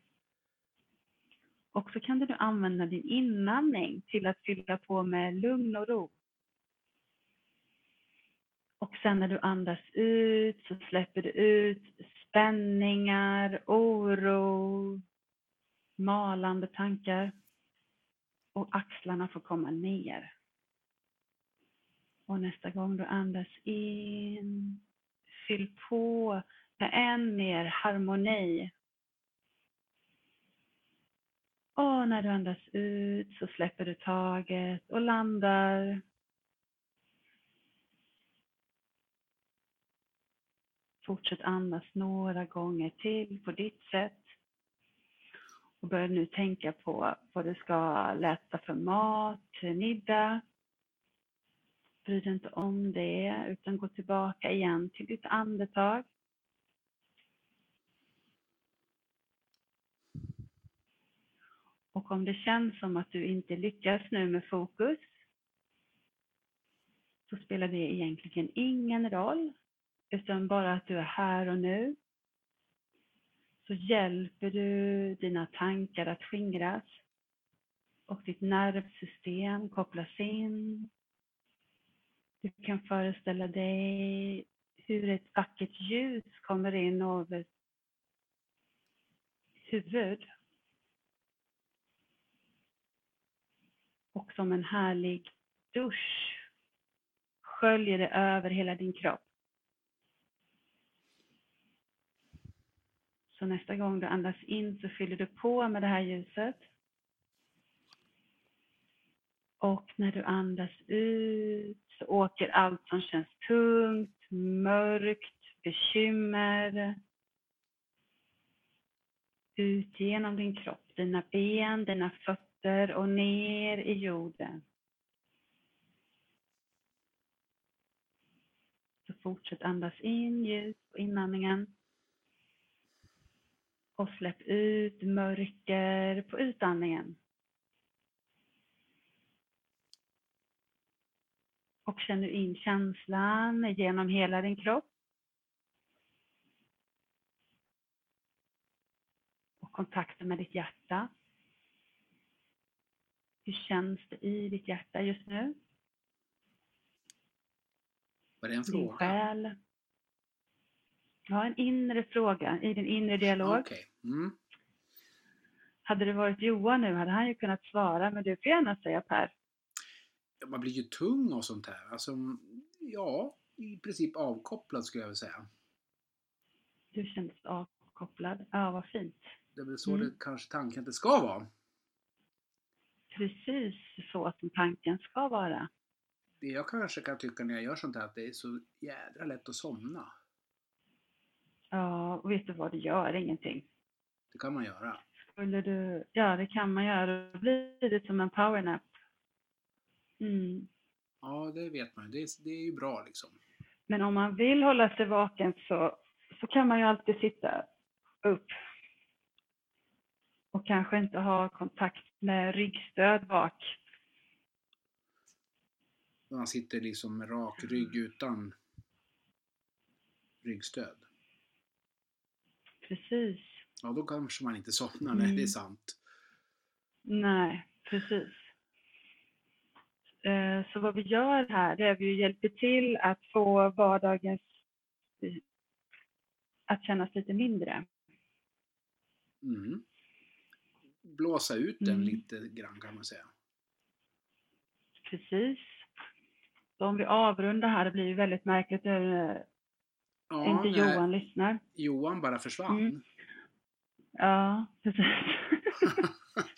Och så kan du nu använda din inandning till att fylla på med lugn och ro. Och sen när du andas ut så släpper du ut spänningar, oro, malande tankar. Och axlarna får komma ner. Och nästa gång du andas in, fyll på med än mer harmoni. Och när du andas ut så släpper du taget och landar. Fortsätt andas några gånger till på ditt sätt. Och börja nu tänka på vad du ska äta för mat till middag. Bry dig inte om det, utan gå tillbaka igen till ditt andetag. Och om det känns som att du inte lyckas nu med fokus, så spelar det egentligen ingen roll, utan bara att du är här och nu. Så hjälper du dina tankar att skingras och ditt nervsystem kopplas in du kan föreställa dig hur ett vackert ljus kommer in över huvud. Och som en härlig dusch sköljer det över hela din kropp. Så nästa gång du andas in så fyller du på med det här ljuset. Och när du andas ut så åker allt som känns tungt, mörkt, bekymmer ut genom din kropp, dina ben, dina fötter och ner i jorden. Så fortsätt andas in ljus på inandningen. Och släpp ut mörker på utandningen. och känner in känslan genom hela din kropp. Och kontakten med ditt hjärta. Hur känns det i ditt hjärta just nu?
Var det en
Din
fråga?
själ? Ja, en inre fråga i din inre dialog.
Okej. Mm.
Hade det varit Johan nu hade han ju kunnat svara, men du får gärna säga Per.
Ja, Man blir ju tung och sånt här. Alltså, ja, i princip avkopplad skulle jag vilja säga.
Du kändes avkopplad. Ja, vad fint.
Det är väl så
Mm.
det kanske tanken att det ska vara.
Precis så som tanken ska vara.
Det jag kanske kan tycka när jag gör sånt här att det är så jädra lätt att somna.
Ja, och vet du vad, det gör ingenting.
Det kan man göra.
Skulle du, ja det kan man göra. Då blir det som en powernap. Mm.
Ja, det vet man ju. Det, är- det är ju bra liksom.
Men om man vill hålla sig vaken så, så kan man ju alltid sitta upp. Och kanske inte ha kontakt med ryggstöd bak.
När man sitter liksom med rak
Mm.
rygg utan ryggstöd.
Precis.
Ja, då kanske man inte somnar. Nej,
Mm.
det är sant.
Nej, precis. Eh, Så vad vi gör här det är att vi hjälper till att få vardagens att kännas lite mindre.
Mm. Blåsa ut den
Mm.
lite grann kan man säga.
Precis. Så om vi avrundar här, det blir ju väldigt märkligt när eh,
Ja,
inte
nej,
Johan lyssnar.
Johan bara försvann.
Mm. Ja,
[LAUGHS]
precis.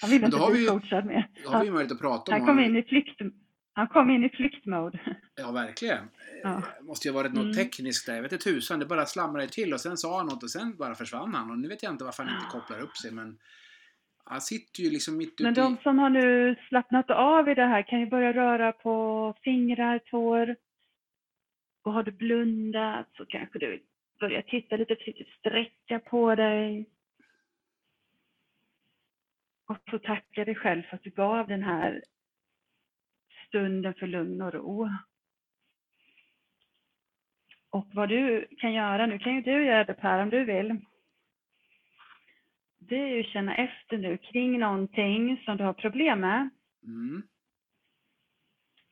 Han vill
Men då
inte
har
bli
vi ju-
coachad mer.
Då har vi ju möjlighet att prata om
Han kom in i flykt, han kom in i flyktmode.
Ja, verkligen.
Ja.
Det måste ju ha varit något
Mm.
tekniskt där. Jag vet inte tusan, det bara slamrade till och sen sa han något och sen bara försvann han. Och nu vet jag inte varför han inte kopplar upp sig men han sitter ju liksom mitt
Ah. Men
ute
de
i...
som har nu slappnat av i det här kan ju börja röra på fingrar, tår. Och har du blundat så kanske du börjar titta lite försiktigt, sträcka på dig. Och så tacka dig själv för att du gav den här stunden för lugn och ro. Och vad du kan göra, nu kan ju du göra det Per om du vill, det är ju att känna efter nu kring någonting som du har problem med.
Mm.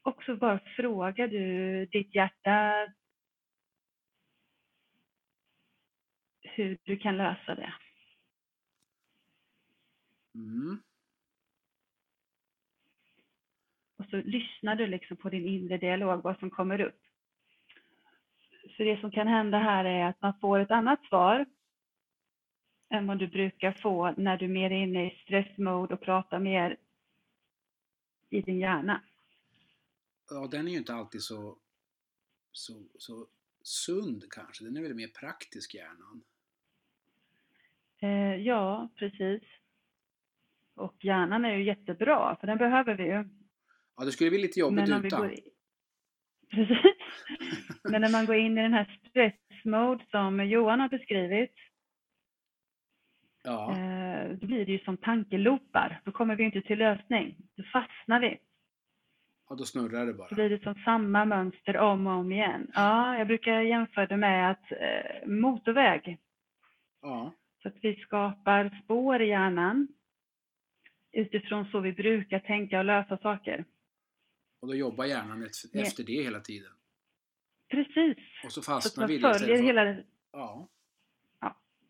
Och så bara frågar du ditt hjärta hur du kan lösa det.
Mm.
Och så lyssnar du liksom på din inre dialog, vad som kommer upp. Så det som kan hända här är att man får ett annat svar än vad du brukar få när du är mer inne i stressmode och pratar mer i din hjärna.
Ja, den är ju inte alltid så, så, så sund kanske. Den är väl mer praktisk, hjärnan.
Eh, ja, precis. Och hjärnan är ju jättebra, för den behöver vi ju.
Ja, det skulle bli lite jobbigt
om
utan.
i- [LAUGHS] Precis. Men när man går in i den här stressmode som Johan har beskrivit,
Ja.
eh, då blir det ju som tankelopar. Då kommer vi ju inte till lösning. Då fastnar vi.
ja, då snurrar det
Då
bara.
blir det som samma mönster om och om igen. Ja, jag brukar jämföra det med att eh, motorväg,
Ja.
Så att vi skapar spår i hjärnan utifrån så vi brukar tänka och lösa saker.
Och då jobbar hjärnan efter,
Ja.
efter det hela tiden.
Precis.
Och så
Så att
fastnar
man
vi i det istället
följer
för-
hela...
Ja.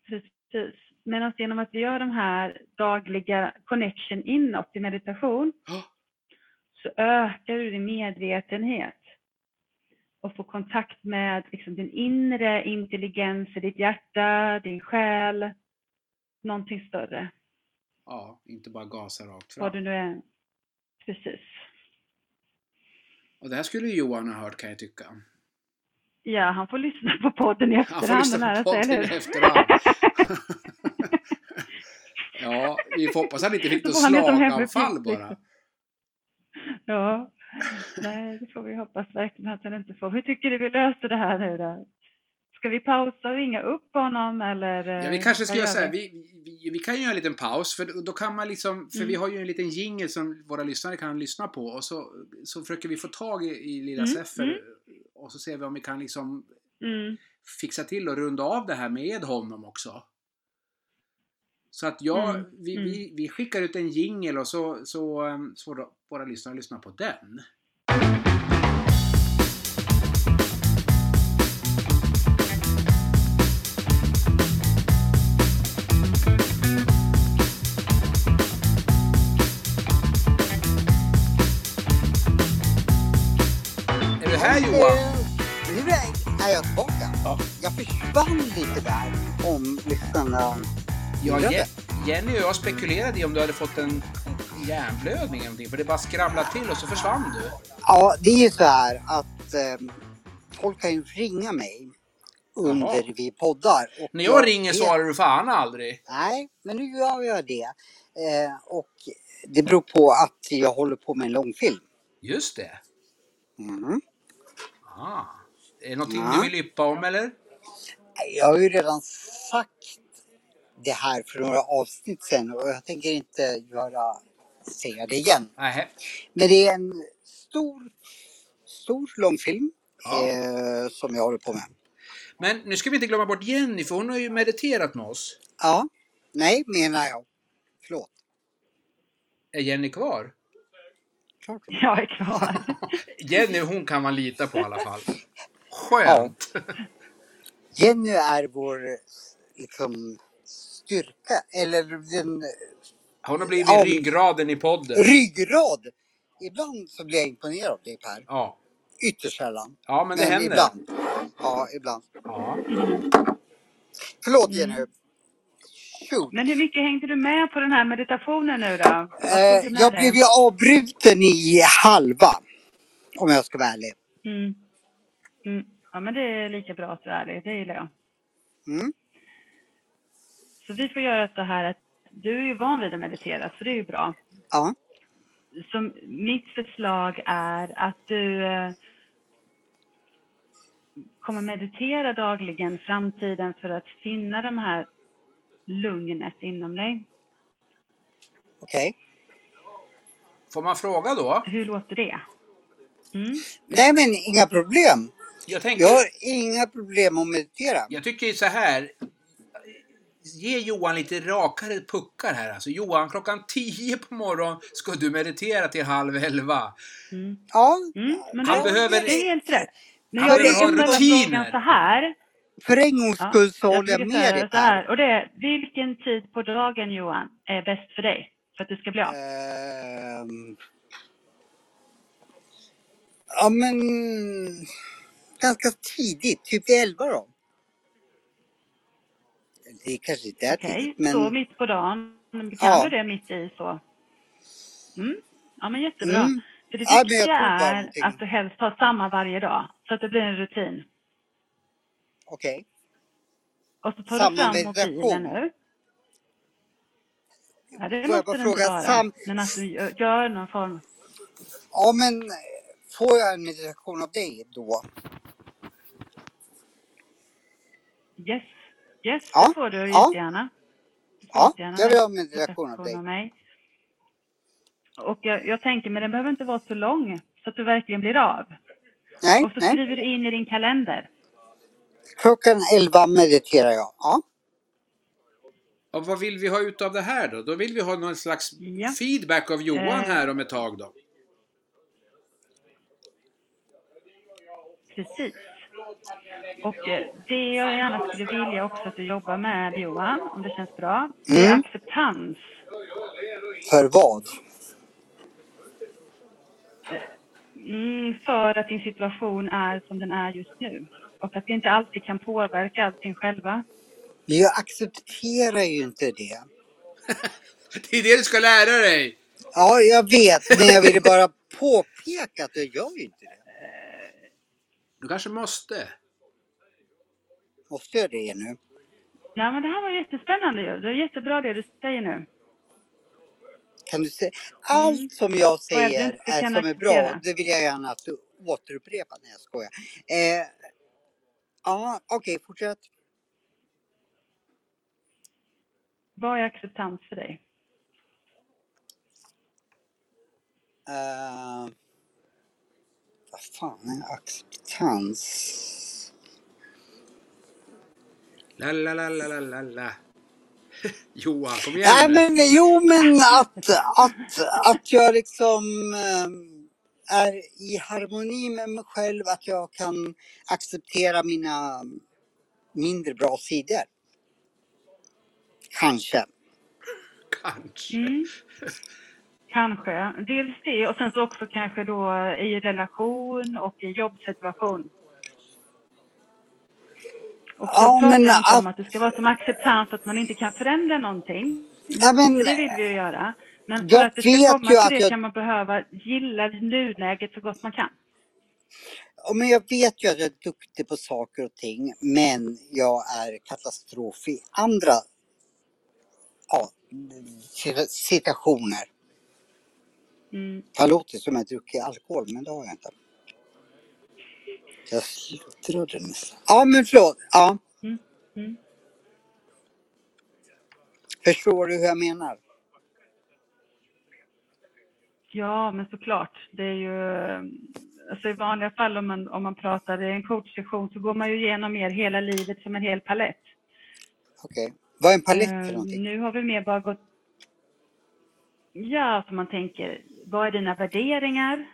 Precis. Medan genom att vi gör de här dagliga connection inåt i meditation
Ja.
så ökar du din medvetenhet och får kontakt med liksom din inre intelligens i ditt hjärta, din själ, någonting större.
ja, inte bara gasa rakt fram.
Vad du nu är. Precis.
Och det här skulle ju Johan ha hört kan jag tycka.
Ja, han får lyssna på podden i
Han får
efterhand och
lyssna
lära
på
sig,
podden
eller
i
hur?
efterhand.
[LAUGHS]
ja, vi får hoppas att han inte fick
Så
något
får han det som hemuppgift,
slaganfall bara.
liksom.
[LAUGHS]
Ja, nej, det får vi hoppas verkligen att han inte får. Hur tycker du vi löser det här nu då? Ska vi pausa och ringa upp honom eller? eh,
Ja, vi kanske ska göra så här, vi, vi, vi kan göra en liten paus, för då kan man liksom, för
Mm.
vi har ju en liten jingle som våra lyssnare kan lyssna på och så, så försöker vi få tag i, i lilla
Mm,
Seffer
mm.
och så ser vi om vi kan liksom
Mm,
fixa till och runda av det här med honom också. Så att jag,
Mm,
vi,
mm.
Vi, vi skickar ut en jingle och så, så, ehm, så då, våra lyssnare lyssnar på den. Är du här Johan?
Nu Eh, är är jag tillbaka.
Ja.
Jag försvann lite där om lyssnarna
Ja,
gillade.
Je- Jenny och jag spekulerade i om du hade fått en en hjärnblödning eller någonting, för det bara skramlade till och så försvann du.
Ja, det är ju så här att eh, folk kan ju ringa mig under
Jaha.
vi poddar. Och
När jag
vet-
ringer svarar du fan aldrig.
Nej, men nu gör jag det. Eh, och det beror på att jag håller på med en långfilm.
Just det.
Mm.
Ah. Är det någonting
Ja.
du vill yppa om eller?
Jag har ju redan sagt det här för några avsnitt sen och jag tänker inte göra, säga det igen.
Nej.
Men det är en stor, stor långfilm
Ja.
eh, som jag håller på med.
Men nu ska vi inte glömma bort Jenny, för hon har ju mediterat med oss.
Ja, Nej, menar jag. Förlåt.
Är Jenny kvar?
Klart.
Jag är kvar.
Jenny, hon kan man lita på i alla fall. Skönt!
Jenny är vår liksom, styrka, eller den
Hon har blivit
Ja.
ryggraden i podden.
ryggrad. Ibland så blir jag imponerad av dig Per.
Ja,
Ytterst sällan.
ja men det händer.
ibland. Ja, ibland.
Ja.
Förlåt
Mm.
Jenny. Shoot.
Men hur mycket hängde du med på den här meditationen nu då? Vad
Eh,
tog du med
jag
dig?
blev ju avbruten i halva. Om jag ska vara ärlig.
Mm. Mm. Ja, men det är lika bra att du är ärlig. Det gillar jag.
Mm.
Så vi får göra så här att du är ju van vid att meditera, så det är ju bra.
Ja.
Så mitt förslag är att du eh, kommer meditera dagligen framtiden för att finna de här lugnet inom dig.
Okej.
Får man fråga då?
Hur låter det? Mm.
Nej men inga problem.
Jag, tänker,
Jag har inga problem att meditera.
jag tycker så här. Ge Johan lite rakare puckar här. Alltså, Johan, klockan 10 på morgonen ska du meditera till halv 11.
Mm.
Ja,
Mm. Men
Han
det,
behöver-
det är helt rätt. Men
Han
jag
behöver ha
vill ställa
rutiner.
frågan så här.
för en gångs
Ja,
skull så
jag
håller jag
tycker
med
så här,
dig
så
Per.
här. Och det är, vilken tid på dagen Johan är bäst för dig? För att det ska bli
Eh,
av?
Ehm. Ja men ganska tidigt, typ vid 11 då. Det kanske inte är
Okej,
tidigt men...
så mitt på dagen. Kan
Ja.
du det mitt i så? Mm. Ja men jättebra.
Mm.
För det
Ja, men jag
viktiga
tror bara
är
någonting.
att du helst har samma varje dag. Så att det blir en rutin.
Okej.
Och så tar
Samma
du fram
meditation.
mobilen nu. Ja,
Får
det
jag
måste
bara
den inte
fråga,
vara.
sam-
Men att du gör- gör någon form.
Ja men eh, får jag en meditation av dig då?
Yes, yes
Ja,
det får du
ja.
jättegärna.
Ja,
Gärna
jag vill ha en
en
meditation av dig.
av mig. Och jag, jag tänker, men den behöver inte vara så lång så att du verkligen blir av.
Nej,
Och så
nej.
skriver du in i din kalender.
Klockan 11 mediterar jag. Ja.
Och vad vill vi ha ut av det här då? Då vill vi ha någon slags
Ja.
feedback av Johan
Eh.
här om ett tag då.
Precis. Och eh, det jag gärna skulle vilja också att du jobbar med Johan, om det känns bra, det är
Mm.
acceptans.
För vad?
Mm, för att din situation är som den är just nu. Och att vi inte alltid kan påverka allting själva.
Men jag accepterar ju inte det.
Det är det du ska lära dig!
Ja, jag vet, men jag ville bara påpeka att jag gör ju inte det.
Du kanske måste.
Måste jag det nu?
Nej, men det här var jättespännande ju. Det är jättebra det du säger nu.
Kan du säga? Allt som jag säger
Mm. inte
är
kan
som är bra,
acceptera.
det vill jag gärna att du återupprepar. när jag skojar. Eh, ja, okej, fortsätt.
Vad är acceptans för dig?
Eh, vad fan är acceptans?
La, la, la, la, la, la, la. [LAUGHS] Johan, kom igen
Nej
nu.
men jo men att, att, att jag liksom ehm, är i harmoni med mig själv, att jag kan acceptera mina mindre bra sidor. Kanske.
Kanske.
Mm. Kanske. Dels det och sen så också kanske då i relation och i jobbsituation. Och
Ja,
då pratar
men
jag inte
att-
om att det ska vara som acceptans att man inte kan förändra någonting.
Nej men,
Det vill vi ju göra. Men för
Jag
att det ska
vet
komma
ju
till
att
det
jag-
kan man behöva gilla nuläget så gott man kan.
ja, men jag vet ju att jag är duktig på saker och ting men jag är katastrof i andra ja, situationer.
Mm.
Det låter som jag druckit alkohol, men det har jag inte. Jag slutade nästan. Ja, men förlåt. Ja.
Mm. Mm.
Förstår du hur jag menar?
Ja, men såklart. Det är ju, alltså I vanliga fall om man, om man pratar i en coachsession så går man ju igenom mer hela livet som en hel palett.
Okej. Vad är en palett för
Eh,
någonting?
nu har vi mer bara gått... Ja, som man tänker, vad är dina värderingar?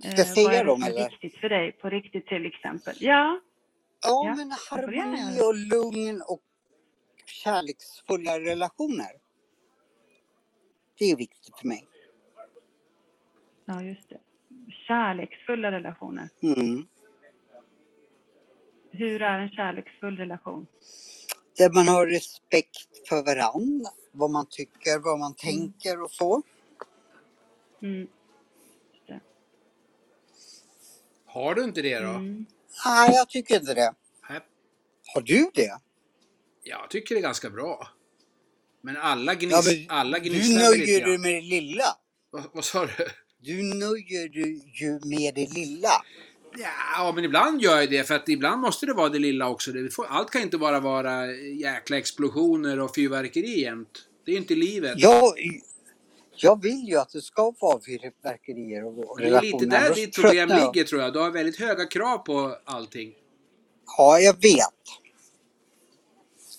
Ska
Eh,
jag säga
vad är det
dem
som är
eller?
viktigt för dig på riktigt till exempel? Ja,
Ja,
Ja,
men
jag får gärna
harmoni
göra.
och lugn och kärleksfulla relationer. Det är viktigt för mig.
ja just det. Kärleksfulla relationer.
Mm.
Hur är en kärleksfull relation?
Där man har respekt för varandra, vad man tycker, vad man tänker och så.
Mm. Just det.
Har du inte det då?
Mm.
Nej, jag tycker inte det.
Nej,
Har du det?
Jag tycker det är ganska bra. Men alla, gnis,
Ja, men
alla
Du
gnisslar väl lite
nöjer
grann.
dig med det lilla.
Vad, vad sa du?
Du nöjer dig ju med det lilla.
Ja, men ibland gör jag det för att ibland måste det vara det lilla också. Det får, allt kan inte bara vara jäkla explosioner och fyrverkeri jämt. Det är ju inte livet.
Jag, jag vill ju att det ska vara fyrverkerier och och
det är lite
relationer.
där
Annars
ditt problem
tröttnar jag.
ligger tror jag. Du har väldigt höga krav på allting.
Ja, jag vet.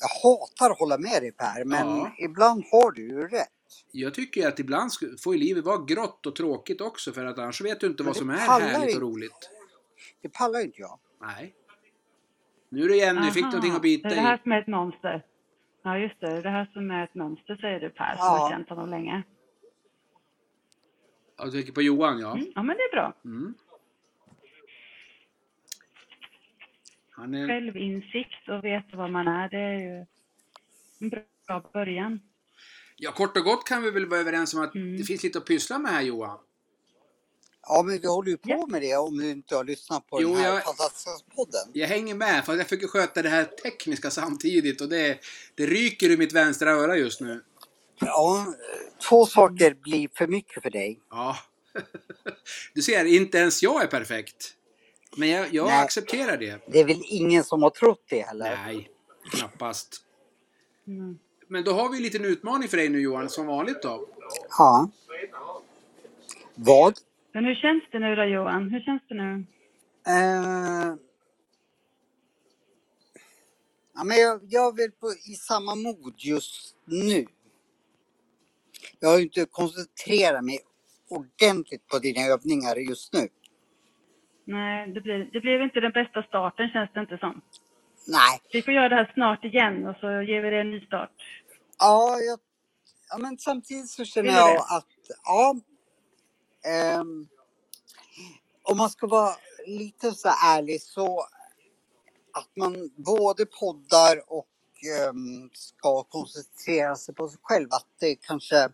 Jag hatar att hålla med dig Per, men
Ja.
ibland har du ju rätt.
Jag tycker ju att ibland sk- får ju livet vara grått och tråkigt också för att annars vet du inte
Men
vad
det
som är
pallar
härligt och
inte.
roligt.
Det pallar ju inte jag.
Nej. Nu är du igen, du fick
Aha,
någonting att
Det
bita
är det här
i.
som är ett mönster. Ja, just det. Det är det här som är ett mönster, säger du Per,
Ja.
som har känt honom länge.
Ja, du tänker på Johan ja.
Mm. Ja, men det är bra.
Mm. Han är...
Självinsikt och veta vad man är, det är ju en bra början.
Ja, kort och gott kan vi väl vara överens om att
Mm.
det finns lite att pyssla med här Johan.
Ja, men vi håller ju på
Ja.
med det om du inte har lyssnat på
Jo,
den här
jag-
fantastiska podden.
Jag hänger med, för jag försöker sköta det här tekniska samtidigt och det, det ryker ur mitt vänstra öra just nu.
Ja, två saker blir för mycket för dig.
Ja. [LAUGHS] Du ser, inte ens jag är perfekt. Men jag, jag
Nej.
accepterar det.
Det är väl ingen som har trott det heller?
Nej, knappast.
Mm.
Men då har vi en liten utmaning för dig nu Johan, som vanligt då.
Ja. Vad?
Men hur känns det nu då Johan? Hur känns det nu?
Eh... Ja, men jag, jag är väl på, i samma mod just nu. Jag har ju inte koncentrerat mig ordentligt på dina övningar just nu.
Nej, det, blir, det blev inte den bästa starten känns det inte som.
Nej.
Vi får göra det här snart igen och så ger vi det en ny start.
Ja, jag, ja men samtidigt så känner
Vill du
jag
det?
att, ja. ehm, om man ska vara lite så ärlig så att man både poddar och ehm, ska koncentrera sig på sig själv, att det kanske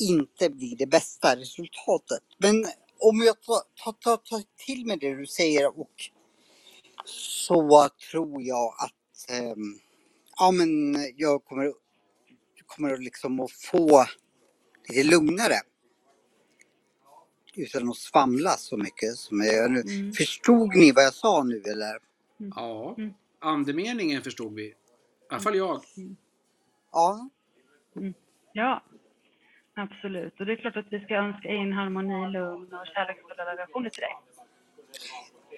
inte blir det bästa resultatet. Men om jag tar, tar, tar, tar till mig det du säger och så tror jag att ehm, ja, men jag kommer, kommer liksom att få lite lugnare. Utan att svamla så mycket som jag gör nu.
Mm.
Förstod ni vad jag sa nu eller?
Ja,
Mm.
andemeningen förstod vi. I alla fall jag.
Ja.
Ja, absolut. Och det är klart att vi ska önska in harmoni, lugn och kärleksfulla relationer till dig.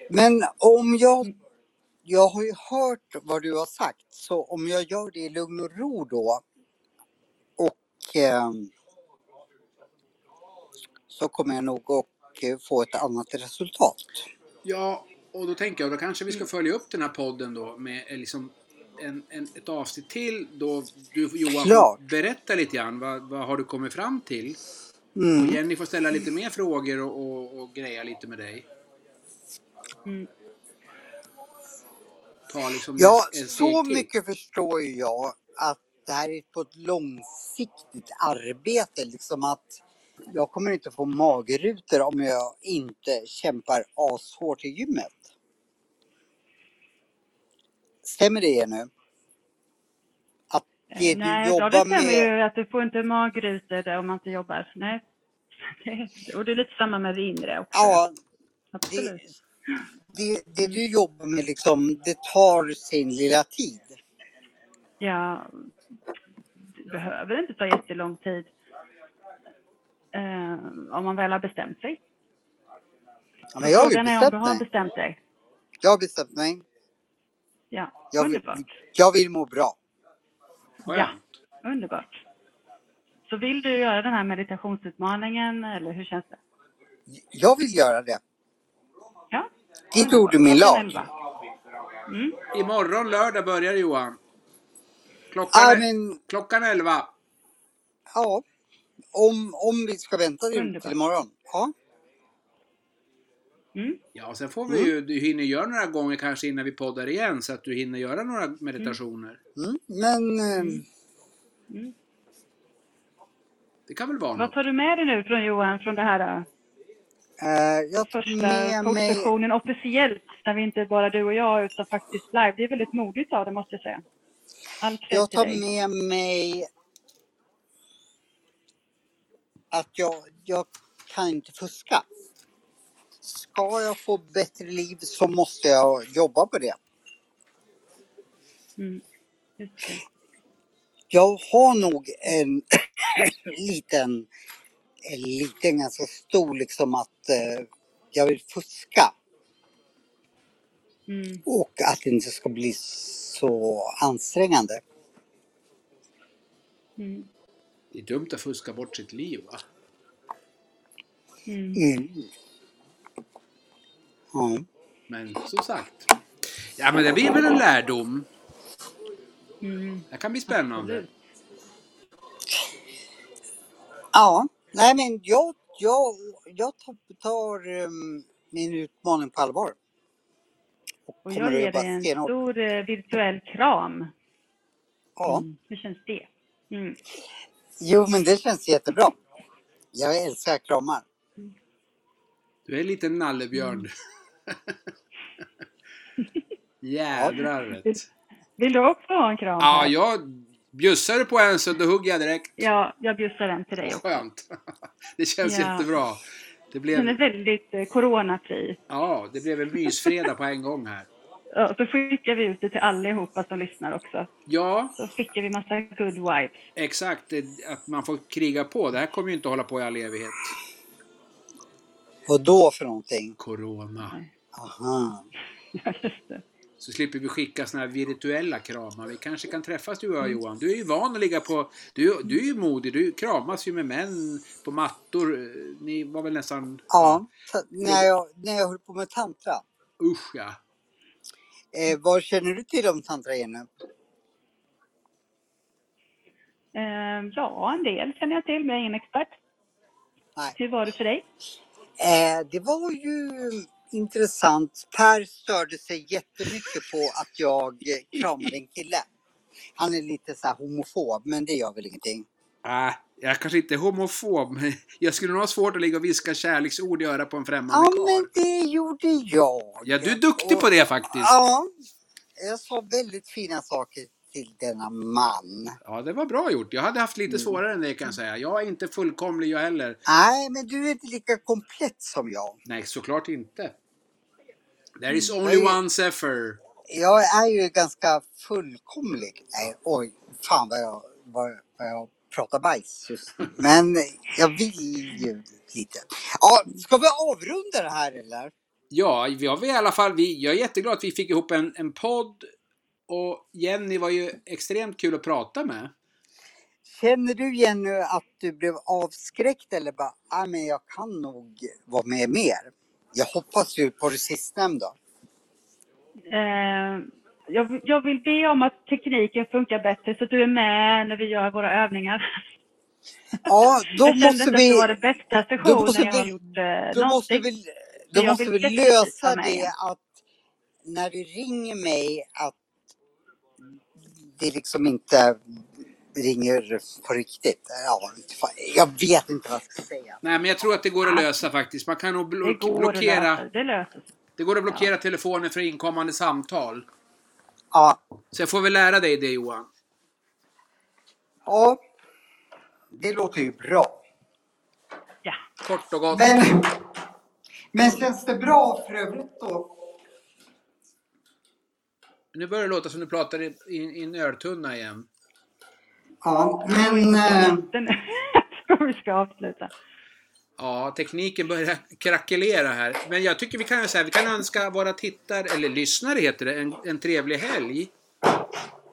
Men om jag... Jag har ju hört vad du har sagt, så om jag gör det i lugn och ro då och ehm, så kommer jag nog att eh, få ett annat resultat.
Ja, och då tänker jag då kanske
Mm.
vi ska följa upp den här podden då med eh, liksom en, en, ett avsnitt till då du Johan
Klart.
får berätta lite grann. Vad, vad har du kommit fram till? Och
Mm.
Jenny får ställa lite mer frågor och, och, och greja lite med dig.
Mm.
Ta liksom
Ja,
en- en steg
så
till.
mycket förstår ju jag att det här är på ett långsiktigt arbete. Liksom att jag kommer inte få magrutor om jag inte kämpar ashårt i gymmet. Stämmer det nu? Att det du
Eh, Nej, ja, det
jobbar
stämmer
med...
ju att du får inte magrutor där om man inte jobbar. Nej. [LAUGHS] Det- Och det är lite samma med det inre också.
Ja, det,
Absolut.
det, det du jobbar med liksom, det tar sin lilla tid.
Ja, det behöver inte ta jättelång tid eh, om man väl har bestämt sig.
Ja, men jag har ju
Frågan är om du
bestämt
har
mig.
bestämt dig.
Jag har bestämt mig.
Ja,
Jag vill,
underbart.
jag vill må bra.
Ja,
Ja,
ja.
underbart. Så vill du göra den här meditationsutmaningen eller hur känns det?
Jag vill göra det.
Ja.
Dit gjorde min
Klockan
lag.
elva. Mm.
Imorgon lördag börjar det, Johan. Klockan,
Ja,
är-
men,
klockan 11.
ja. Om, om vi ska vänta till, till
Underbart.
imorgon. Ja.
Mm.
Ja, sen får vi ju, du hinner göra några gånger kanske innan vi poddar igen så att du hinner göra några meditationer.
Mm. Men eh,
Mm.
Det kan väl vara
Vad
något?
tar du med dig nu från Johan från det här eh,
eh, jag tar
första
med mig...
frågesessionen officiellt när vi inte bara du och jag utan faktiskt live. Det är väldigt modigt av dig måste jag säga. All cred
Jag
till
tar
dig.
med mig att jag, jag kan inte fuska. Ska jag få bättre liv så måste jag jobba på det.
Mm. Just det.
Jag har nog en liten, en liten, ganska stor liksom att eh, jag vill fuska
Mm.
och att det inte ska bli så ansträngande.
Mm.
Det är dumt att fuska bort sitt liv va?
Mm.
Mm. Ja.
Men som sagt. Ja men det blir väl en lärdom.
Mm.
Det kan bli spännande.
Absolut.
Ja, nej men jag, jag, jag tar, tar ehm, min utmaning på allvar.
Och
Kommer
jag
du
ger
jobba
dig en
stenhårt?
stor eh, virtuell kram.
Ja.
Mm. Hur känns det? Mm.
Jo men det känns jättebra. Jag älskar kramar.
Du är en liten
Mm.
nallebjörn. [LAUGHS] Jädrar vet du.
Vill du också ha en kram?
Ja,
här?
jag bjussar du på en så då hugger jag direkt.
ja jag bjussar den till dig också.
Skönt. [LAUGHS] Det känns
Ja.
jättebra. Det
Den är
blev,
väldigt eh, coronafri.
ja, det blev en mysfredag på en gång här.
Ja, så skickar vi ut det till allihopa som lyssnar också.
Ja,
Så skickar vi massa good vibes. [LAUGHS]
exakt. Det- Att man får kriga på. Det här kommer ju inte hålla på i all evighet.
Och då för någonting?
Corona.
Aha.
Ja, just det.
Så slipper vi skicka såna här virtuella kramar. Vi kanske kan träffas du och jag Johan. Du är ju van att ligga på... Du, du är ju modig. Du kramas ju med män på mattor. Ni var väl nästan...
Ja, så, när, jag, när jag höll på med tantra.
Usch ja.
Eh, vad känner du till om tantra Jenny?
Ehm, ja, en del känner jag till, men jag är ingen expert.
Nej.
Hur var det för dig?
Eh, det var ju intressant. Per störde sig jättemycket på att jag eh, kramade en kille. Han är lite så här homofob, men det gör väl ingenting.
Äh, jag kanske inte är homofob, men jag skulle nog ha svårt att ligga och viska kärleksord i örat på en främmande
Ja,
karl.
men det gjorde jag.
Ja, du är duktig på det faktiskt.
Ja, jag sa väldigt fina saker till denna man.
Ja, det var bra gjort. Jag hade haft
Mm.
lite svårare än det kan jag säga. Jag är inte fullkomlig jag heller.
Nej, men du är inte lika komplett som jag.
Nej, såklart inte. There is only
Nej.
one Zephyr.
Jag är ju ganska fullkomlig. Nej, oj, fan vad jag, vad, vad jag pratar bajs just
[LAUGHS]
nu. Men jag vill ju lite. Ja, ska vi avrunda det här eller?
Ja, vi har vi i alla fall, vi, jag är jätteglad att vi fick ihop en, en podd. Och Jenny var ju extremt kul att prata med.
Känner du Jenny att du blev avskräckt eller bara, ah, men jag kan nog vara med mer? Jag hoppas ju på det sistnämnda.
Ehm, jag, jag vill be om att tekniken funkar bättre så att du är med när vi gör våra övningar.
Ja, då
jag kände
måste
inte att det var
vi,
den bästa
då måste
sessionen jag har
vi-
gjort eh,
då måste
någonsin.
vi,
Jag
då
vill
måste vi
definitivt vara
lösa
med
det
igen.
att när du ringer mig att det liksom inte ringer på riktigt. Ja, inte fan- jag vet inte vad jag ska säga.
Nej, men jag tror att det går att lösa faktiskt. Man kan nog
Det
blo-
går att lösa.
blockera,
Det löser sig.
det går att blockera telefonen för inkommande samtal.
Ja,
Så jag får väl lära dig det Johan.
ja. det låter ju bra.
Ja.
Kort och gott.
Men, men känns det bra för övrigt då?
Nu börjar det låta som du pratar i, i, i en öltunna igen.
Ja, men eh,
[LAUGHS] Den, jag tror vi ska avsluta.
Ja, tekniken börjar [LAUGHS] krackelera här. Men jag tycker vi kan, så här, vi kan önska våra tittare, eller lyssnare heter det, en, en trevlig helg.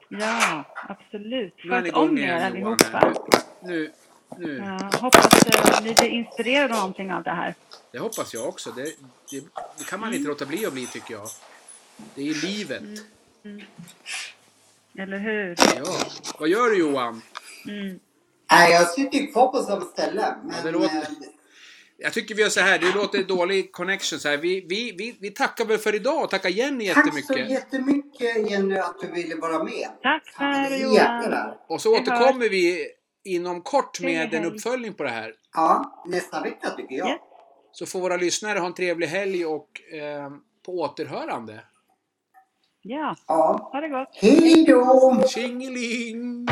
Ja, absolut.
Nu är ni
Sköt om
igång
er
igen Johan. här.
allihopa.
Nu, nu.
Ja, hoppas eh, ni blir inspirerade av någonting av det här.
Det hoppas jag också. Det, det, det
Mm.
kan man inte låta bli att bli tycker jag. Det är ju livet.
Eller hur?
Ja. Vad gör du Johan?
Mm.
Nej, jag sitter ju kvar på samma ställe. Men,
Ja, det låter-
eh,
Jag tycker vi gör så här, det låter dålig connection så här. Vi, vi, vi, vi tackar väl för idag och tackar Jenny
Tack så
jättemycket.
jättemycket Jenny att du ville vara med.
Tack
Fan,
för Johan.
jäklar.
Och så
Vi
återkommer vi inom kort
Trevlig
med en
helg.
uppföljning på det här.
Ja, nästa vecka tycker jag.
Yes.
Så får våra lyssnare ha en trevlig helg och eh, på återhörande.
Ja,
Ja.
ha det gott.
Hej då!
Tjingeling!